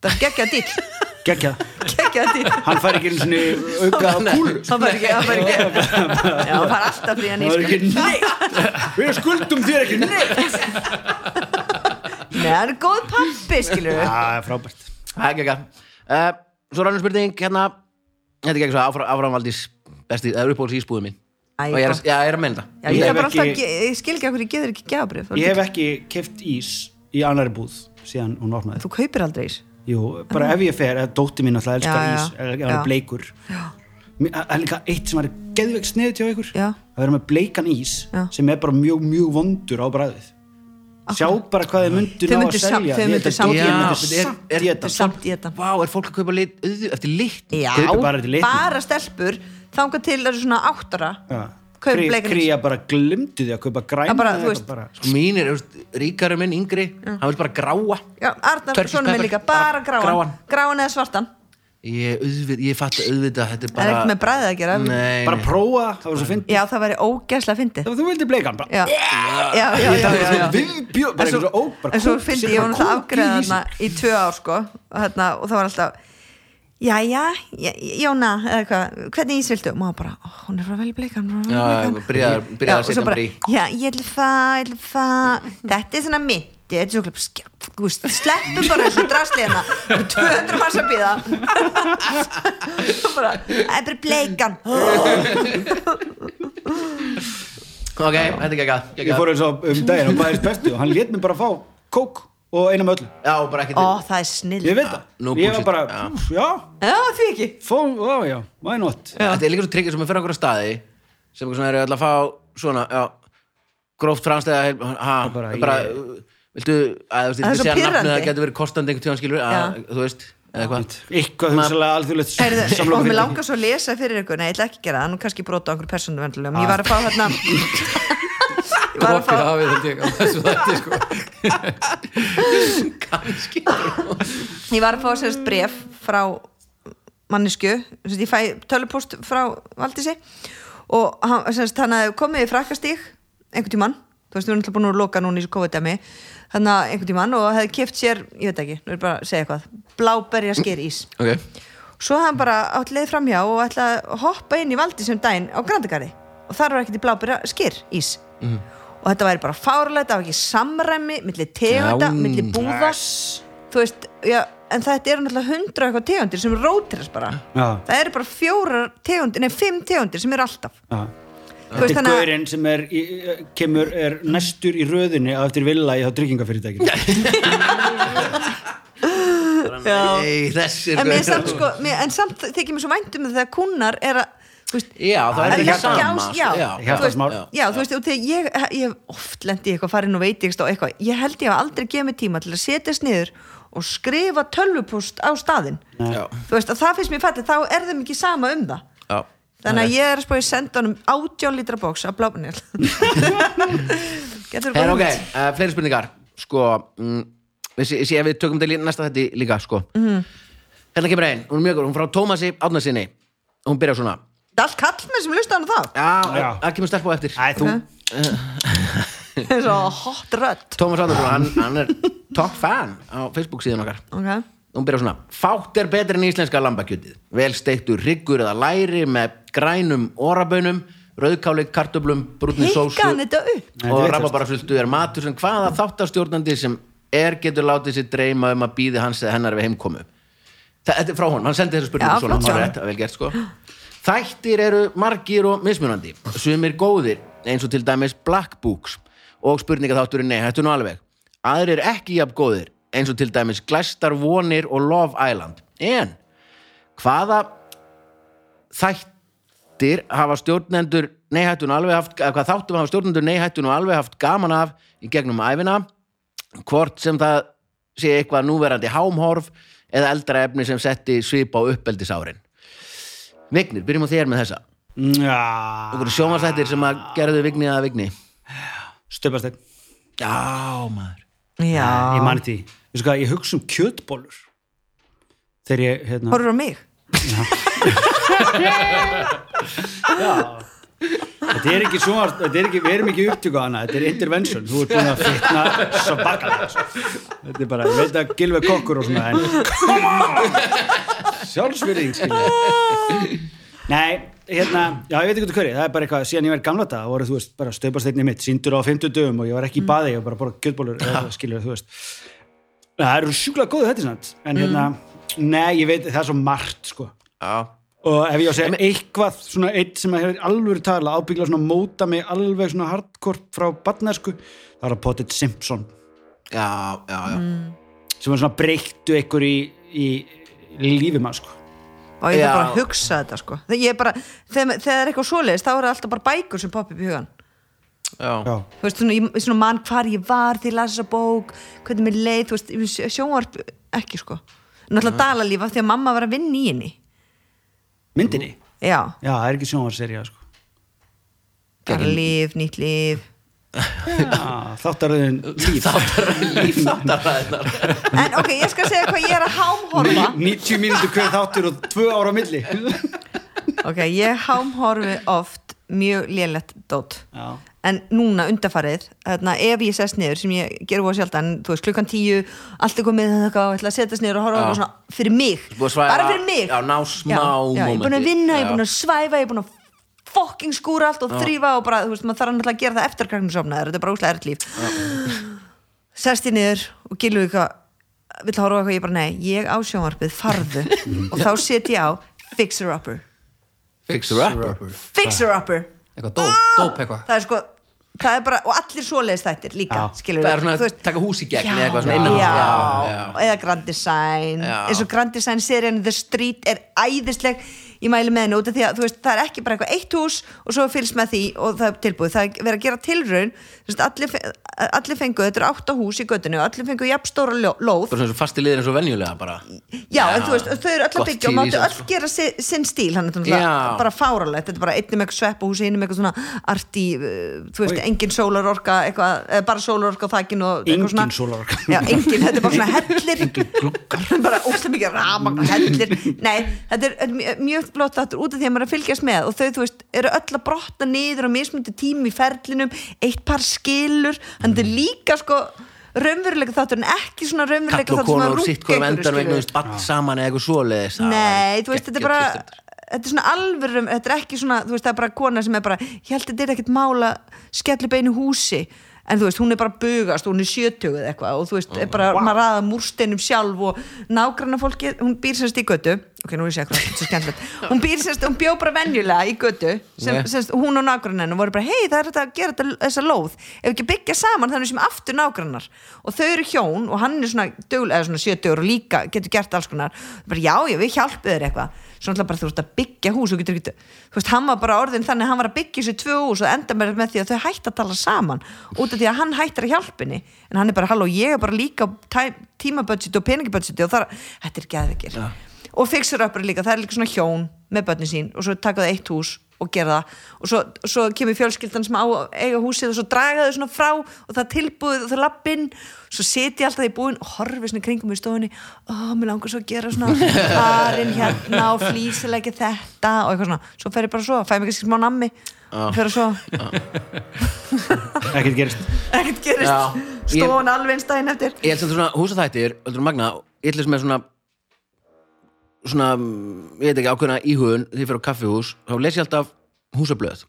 Speaker 2: það er geggjað dýl
Speaker 3: Gekja,
Speaker 2: geggjað dýl
Speaker 3: hann fær ekki einu sinni auka á kúlu
Speaker 2: það var ekki, það var ekki já, það var alltaf frí að
Speaker 3: Það er
Speaker 2: nýsku
Speaker 3: ekki neitt Við skuldum þér ekki neitt
Speaker 2: nei, hann er góð pappi, skilur við
Speaker 3: Það er frábært
Speaker 1: Það er ekki ekki. Eh, Svo rannum spurning hérna, þetta er ekki svo áfram, áframvaldís besti, það er uppáhalds ísbúðið mín.
Speaker 2: Æ,
Speaker 1: og ég er,
Speaker 2: gott.
Speaker 1: að- já, ég er að menna
Speaker 2: já,
Speaker 1: það.
Speaker 2: ég,
Speaker 3: Ég hef
Speaker 2: ég, ekki...
Speaker 3: ekki-
Speaker 2: ekki, ég skil ekki okkur, ég geður ekki gefabrif
Speaker 3: Ég hef ekki keft ís í annari búð síðan hún opnaði
Speaker 2: þú kaupir aldrei ís
Speaker 3: Jú, bara ef ég fer, eða dótti mín alltaf elskar
Speaker 2: Já, já,
Speaker 3: ís, eða hann
Speaker 2: já.
Speaker 3: er bleikur Mér- Það er líka eitt sem er geðvegt sniðið til ykkur
Speaker 2: Já.
Speaker 3: að vera með bleikan ís
Speaker 2: Já.
Speaker 3: sem er bara mjög, mjög vondur á bræðið Sjá bara hvað þið myndu
Speaker 2: Þau
Speaker 3: ná að
Speaker 2: myndu samt-
Speaker 3: selja
Speaker 2: þau
Speaker 3: Ég
Speaker 2: myndu
Speaker 3: held að
Speaker 2: samt-
Speaker 3: dóttir
Speaker 2: Já,
Speaker 3: mín myndi
Speaker 1: þetta er-
Speaker 3: samt
Speaker 1: er-
Speaker 3: éta.
Speaker 2: samt í þetta
Speaker 1: Vá, er fólk að kaupa lit, auð, eftir lit?
Speaker 2: Já,
Speaker 3: Kaupi bara þetta í litnum.
Speaker 2: bara stelpur þangað til eru svona áttara
Speaker 3: Já.
Speaker 2: kaupir
Speaker 3: Krí-
Speaker 2: bleikan ís.
Speaker 3: Kría bara glimti því að kaupa græna
Speaker 2: bara,
Speaker 3: eða
Speaker 2: þú veist,
Speaker 3: eitthvað bara.
Speaker 1: Sko mínir, þú veist, ríkari minn, yngri, hann vil bara gráa.
Speaker 2: Já, Arnar,
Speaker 1: Turkish
Speaker 2: svona minn
Speaker 1: pepper, Ah,
Speaker 2: líka, bara gráan Gráan,
Speaker 1: gráan.
Speaker 2: eða svartan
Speaker 1: Ég, auðvitað, ég fatt auðvitað, þetta er
Speaker 2: Það er
Speaker 1: bara...
Speaker 2: ekkert með bragðið að gera.
Speaker 1: Nei,
Speaker 3: bara
Speaker 1: nei.
Speaker 3: prófa, það var svo fyndið
Speaker 2: Já, það væri ógæslega fyndið
Speaker 3: Ef þú vildi bleikan bara
Speaker 2: Já, já, já, já, já, já.
Speaker 3: Viðbjó, bara
Speaker 2: En svo-
Speaker 3: einhver svo ó, bara
Speaker 2: En svo
Speaker 3: kúk,
Speaker 2: fyndi
Speaker 3: sér
Speaker 2: ég
Speaker 3: bara
Speaker 2: hún það
Speaker 3: kúk í
Speaker 2: afgreða
Speaker 3: ísinn.
Speaker 2: þarna í tvö ár sko og þarna, og það var alltaf Jæja, J- Jóna eða hvað, hvernig ís viltu? Og maður bara, ó, hún er frá vel bleikan hún er
Speaker 1: Já,
Speaker 2: frá vel bleikan."
Speaker 1: byrjaði
Speaker 2: Já,
Speaker 1: byrjaði að
Speaker 2: og svo
Speaker 1: setja
Speaker 2: bara,
Speaker 1: mér í.
Speaker 2: já, ég ætla að fá, ég ætla að fá þetta er svona mitt, þetta er svona skjá- þú veist, sleppum bara þessu drasli hérna Það eru 200 manns að býða bara, það er bara bleikan
Speaker 1: Ok, þetta er geggjað,
Speaker 3: Ég
Speaker 1: geggjað.
Speaker 3: fór eins og um daginn og bæðist bestu og hann lét mér bara fá kók og eina með öllu
Speaker 1: Já, bara ekki
Speaker 2: ó,
Speaker 1: til.
Speaker 2: það er snill
Speaker 3: Ég veit það,
Speaker 1: no
Speaker 3: ég var
Speaker 1: bullshit,
Speaker 3: bara
Speaker 1: já.
Speaker 3: pff, Já,
Speaker 2: já, því ekki
Speaker 3: fó, já, já, why not
Speaker 1: Þetta er líka svo tryggir sem er fyrir okkur að staði, sem eitthvað svona eru alltaf að fá svona, já, gróft franskt eða, hel- ha,
Speaker 3: Bara
Speaker 1: bara,
Speaker 3: ég-
Speaker 1: viltu, að þú veist,
Speaker 2: Það er
Speaker 1: ég sé
Speaker 2: svo
Speaker 1: að nafnið
Speaker 2: pirrandi.
Speaker 1: það getur verið kostandi einhvern tíðan skilur, að, þú veist, eða eitthvað.
Speaker 3: Eitthvað hugsalega alþjóðlegt
Speaker 2: Heyrðu, og mér
Speaker 3: samlokum
Speaker 2: langar svo að lesa fyrir ykkur, nei, ég ætla ekki að gera það, nú kannski brota á einhverju persónuvendulegum, ég var að fá þarna ég var að
Speaker 4: Brokkið
Speaker 2: fá
Speaker 4: hafið held ég á þessu þætti sko.
Speaker 1: Kanski.
Speaker 2: ég var að fá sérst bref frá mannesku, sérst ég fæ tölupóst frá Valdísi og hann- sérst hann hafði komið í frakkastík einhvern tímann, þú veist, við erum alltaf búin að loka núna í þessu COVID-dæmi, þannig að einhvern tímann og hefði keft sér, ég veit ekki, nú er bara að segja eitthvað, bláberja sker ís
Speaker 1: Ok.
Speaker 2: svo hafði hann bara átt leið framhjá og ætlaði að hoppa inn í valdi sem daginn á Grandagari og þar var ekkert í blábyrja skýr ís og þetta væri bara fárlega, það var ekki samræmi milli tegunda,
Speaker 1: Já,
Speaker 2: milli búða
Speaker 3: yes.
Speaker 2: þú veist, já, en þetta eru náttúrulega hundra eitthvað tegundir sem rótirast bara
Speaker 3: Já.
Speaker 2: það eru bara fjórar tegundir, nei fimm tegundir sem eru alltaf Þú veist,
Speaker 3: Þetta er
Speaker 2: þannig að-
Speaker 3: gaurinn sem er, í- kemur, er næstur í röðinni á eftir vilja í þá tryggingafyrirtækinu
Speaker 1: Nei, þessi
Speaker 2: en, mér samt, sko, mér, en samt þykir mér svo væntum þegar kunnar er að þú veist,
Speaker 1: Já, það er
Speaker 2: að
Speaker 1: ekki
Speaker 2: leggja á-
Speaker 1: sama, sko.
Speaker 2: já,
Speaker 1: Já,
Speaker 2: þú veist,
Speaker 3: hjartansmál.
Speaker 2: já, þú veist, og þegar ég, ég hef oft lendi í eitthvað farin og veit ekki eitthvað, ég held ég hef aldrei gefið mig tíma til að setjast niður og skrifa tölvupúst á staðinn
Speaker 1: Já,
Speaker 2: þú veist, og það finnst mér fallið, þá er þeim ekki sama um það
Speaker 1: já
Speaker 2: Þannig að ég er að spá ég að senda honum átján lítra bóks af blábunil Getur
Speaker 1: Her,
Speaker 2: bara
Speaker 1: ok,
Speaker 2: út.
Speaker 1: uh, fleiri spurningar Sko, mm, þessi mm, við tökum þetta í næsta þetta líka, sko
Speaker 3: Mhm.
Speaker 1: -hmm. Hérna kemur einn, hún er mjög góð Hún er frá Tómasi Árnarsinni Hún byrjar svona
Speaker 2: Það er allt kallmenn sem lusta hann á það
Speaker 1: Já,
Speaker 3: Já.
Speaker 1: það kemur stelpa á eftir
Speaker 3: Æ, þú,
Speaker 2: Það er svo hot rödd
Speaker 1: Tómas Árnarsson, hann, hann er top fan á Facebook síðan okkar
Speaker 2: okay.
Speaker 1: Hún byrjar svona Fátt er betri en íslenska lambakjötið Vel steiktur hryggur eða læri með grænum orabönum rauðkáli, kartöblum, brúnni sósu
Speaker 2: Hikkaðan þetta upp
Speaker 3: Nei,
Speaker 1: og
Speaker 3: þetta er
Speaker 1: rababarasultu er matur sem hvaða þáttastjórnandi sem er getur látið sér dreyma um að býði hans eða hennar við heimkomu Þa- Þetta er frá honum, hann sendi þessu
Speaker 2: Já,
Speaker 1: spurningu svona
Speaker 2: flott,
Speaker 1: það var
Speaker 2: já.
Speaker 1: rétt, það er vel gert, sko. Þættir eru margir og mismunandi sumir góðir, eins og til dæmis Black Books og spurningaþátturinn Nei, hættu nú alveg aðrir ekki jafn góðir, eins og til dæmis Glæstar Vonir og Love Island en hvaða þættir hafa stjórnendur neihættun alveg haft, eða hvað þáttum hafa stjórnendur neihættun og alveg haft gaman af í gegnum æfina, hvort sem það sé eitthvað núverandi hámhorf eða eldra efni sem setti svip á uppeldisárin Vignir, byrjum á þér með þessa
Speaker 3: Já,
Speaker 1: okkur
Speaker 2: Ah.
Speaker 1: sjónvarsættir sem að gerðu Vigni að Vigni
Speaker 3: stöpasteinn,
Speaker 1: Já, maður
Speaker 3: ég
Speaker 2: Já,
Speaker 3: mani því Veistu hvað, ég hugsa um kjötbólur Þegar ég, hérna
Speaker 2: horfur á mig
Speaker 3: Þetta er ekki svona, þetta er ekki, við erum ekki upptöku annað, þetta er intervention, þú ert búin að fitna svo bakla Þetta er bara, ég veit að gilve kokkur og svona, en come on! Sjálfsverðing, skilja. Nei, hérna, já, ég veit ekki út hverju, það er bara eitthvað, síðan ég verið gamla þetta, voru, þú veist, bara stöðbasteinni mitt, síndur á 50 dögum og ég var ekki í baði, ég var bara að borða kjötbólur, eða eitthvað, skilja, þú veist. Það eru sjúklega góðu þetta, sant? en hérna, nei, ég veit, það er svo margt, sko
Speaker 1: Já,
Speaker 3: og ef ég á að segja eitthvað svona eitt sem að hefur alvöru tala ábyggla svona móta mig alveg svona hardkort frá barnesku, það var að Pottet Simpson
Speaker 1: já, já, já.
Speaker 3: sem var svona breyttu einhver í, í lífi maður sko
Speaker 2: og ég
Speaker 1: Já.
Speaker 2: þarf bara að hugsa þetta sko Þegar ég er bara, þegar, þegar er eitthvað svoleiðis þá er alltaf bara bækur sem poppa upp í hugan
Speaker 1: já.
Speaker 3: já,
Speaker 2: þú veist, svona, ég, svona mann hvar ég var því ég las þessa bók, hvernig mér leið þú veist, ég- sjónvarp ekki sko náttúrulega dalalífa því að mamma var að vinna í henni
Speaker 3: myndinni,
Speaker 2: já,
Speaker 3: já það er ekki sjónvarserja sko
Speaker 2: bara líf, nýtt líf
Speaker 3: já, þáttaröðin líf
Speaker 1: Líf þáttaræðnar
Speaker 2: en ok, ég skal segja hvað ég er að hámhorfa
Speaker 3: 90 mínútur hver þáttur og 2 ára á milli
Speaker 2: ok, ég hámhorfi oft mjög lélegt dót
Speaker 3: Já.
Speaker 2: en núna undarfarið þarna, ef ég sest niður sem ég gerur voða sjaldan þú veist klukkan tíu, allt er komið þetta og ætla að setjast niður og horfa á eitthvað svona fyrir mig,
Speaker 1: Þú búið að svæfa-
Speaker 2: bara fyrir mig
Speaker 1: já, ná smá
Speaker 2: já, já, ég er búin að
Speaker 1: momenti.
Speaker 2: vinna, ég er
Speaker 1: Já.
Speaker 2: búin að svæfa ég er búin að fokking skúra allt og þrýfa og bara, þú veist, maður þarf náttúrulega að gera það eftir kræknum sofnaður, þetta er bara úslega erð líf sest ég niður og gilvum eitthvað vill horfa á eitthvað, ég bara nei, ég á sjónvarpið farðu og þá set ég á Fixer Upper
Speaker 1: Fix the rapper
Speaker 2: Fixer Upper
Speaker 4: eitthvað dóp, dóp eitthvað
Speaker 2: Ah! það er sko, það er bara og allir svoleiðis þættir líka,
Speaker 3: Já.
Speaker 2: skilur
Speaker 1: Það er
Speaker 2: þú
Speaker 1: svona
Speaker 2: veist,
Speaker 1: að taka hús í gegn eða eitthvað
Speaker 2: já,
Speaker 1: svona innan-
Speaker 2: já, eða Grand Design
Speaker 1: Já.
Speaker 2: eins og Grand Design serían The Street er æðisleg ég mæli með henni út af því að þú veist, það er ekki bara eitthvað eitt hús og svo fylgst með því og það er tilbúið, það er verið að gera tilraun þú veist, allir, fe- allir fengu, þetta eru átta hús í göttinu og allir fengu jafnstóra ljó- lóð
Speaker 1: bara svona svo fasti liðir eins og venjulega bara
Speaker 2: Já, en þú veist, þau eru öll
Speaker 1: Gott
Speaker 2: að byggja og
Speaker 1: TV
Speaker 2: máttu
Speaker 1: samt,
Speaker 2: öll
Speaker 1: sko.
Speaker 2: gera si, sinn stíl hann er náttúrulega
Speaker 1: Já.
Speaker 2: bara fáralegt, þetta er bara einnum eitthvað sveppahúsi, einum eitthvað svona arti þú veist,
Speaker 3: Oj.
Speaker 2: engin sólarorka eitthvað, eða bara sólarorka á þakkinu og eitthvað
Speaker 3: Engin
Speaker 2: svona-
Speaker 3: sólarorka.
Speaker 2: Já, engin, þetta er bara svona hellir bara óslega mikið ramagn og hellir Nei, þetta er, er mjö- mjög flott þetta er út af því að maður er að fylgjast með og þau, þú veist, eru öll að brotna niður og mismundi tími í ferlinum, eitt par skilur en
Speaker 1: Mm.
Speaker 2: þetta er líka sko raunveruleika þáttur en ekki svona raunveruleika
Speaker 1: kall og kona úr sitt hvora
Speaker 2: einhverju,
Speaker 1: vendar
Speaker 2: skilurðu.
Speaker 1: vegna bann saman eða eitthvað svoleiðis Það
Speaker 2: Nei,
Speaker 1: er
Speaker 2: þú veist, þetta er
Speaker 1: geggjað
Speaker 2: bara
Speaker 1: system.
Speaker 2: þetta er svona alvörum, þetta er ekki svona þú veist, það er bara kona sem er bara, ég held að þetta er ekkert mála skellur beinu húsi en þú veist, hún er bara að bugast, hún er 70 eða eitthvað og þú veist, er bara, maður ræða múrsteinum sjálf og nágranna fólki hún býr semst í götu, ok, nú er ég segur þetta er skemmtilegt, hún býr semst, hún bjó bara venjulega í götu, sem,
Speaker 1: Nei.
Speaker 2: semst, hún og nágranninn voru bara, hei, það er þetta að gera þetta, þessa lóð ef ekki byggja saman þannig sem aftur nágrannar og þau eru hjón og hann er svona, dögul, eða svona 70 og líka getur gert alls konar bara, já, já, við hjálpum þér eitthvað svona alltaf bara þú ert að byggja hús og getur ekki þú veist, hann var bara orðin þannig að hann var að byggja þessu tvö hús og enda með, með því að þau hætt að tala saman út af því að hann hættir að hjálpinni en hann er bara, halló, ég er bara líka tímabudget og peningabudget og þar, þetta er geðvekir og fixer uppur líka, það er líka svona hjón með börnin sín og svo taka það eitt hús og gera það og svo, svo kemur fjölskyldan sem á að eiga húsið og svo draga þau svona frá og það er tilbúið og það er lappinn svo setja ég alltaf í búin og horfi svona í kringum í stofunni ó, mér langar svo að gera svona barinn hérna og flýsileggi þetta og eitthvað svona, svo fer ég bara svo fæ mér kannski smá nammi, fer að svo
Speaker 3: ekkert gerist
Speaker 2: ekkert gerist,
Speaker 1: Já. Ég-
Speaker 2: stofan alveg einn stæðin eftir
Speaker 1: Ég held sem svona húsaþættir, öldur magna ég held sem er svona svona, mm, ég veit ekki ákveðna íhugun því ég fer á kaffihús, þá les ég alltaf húsablöð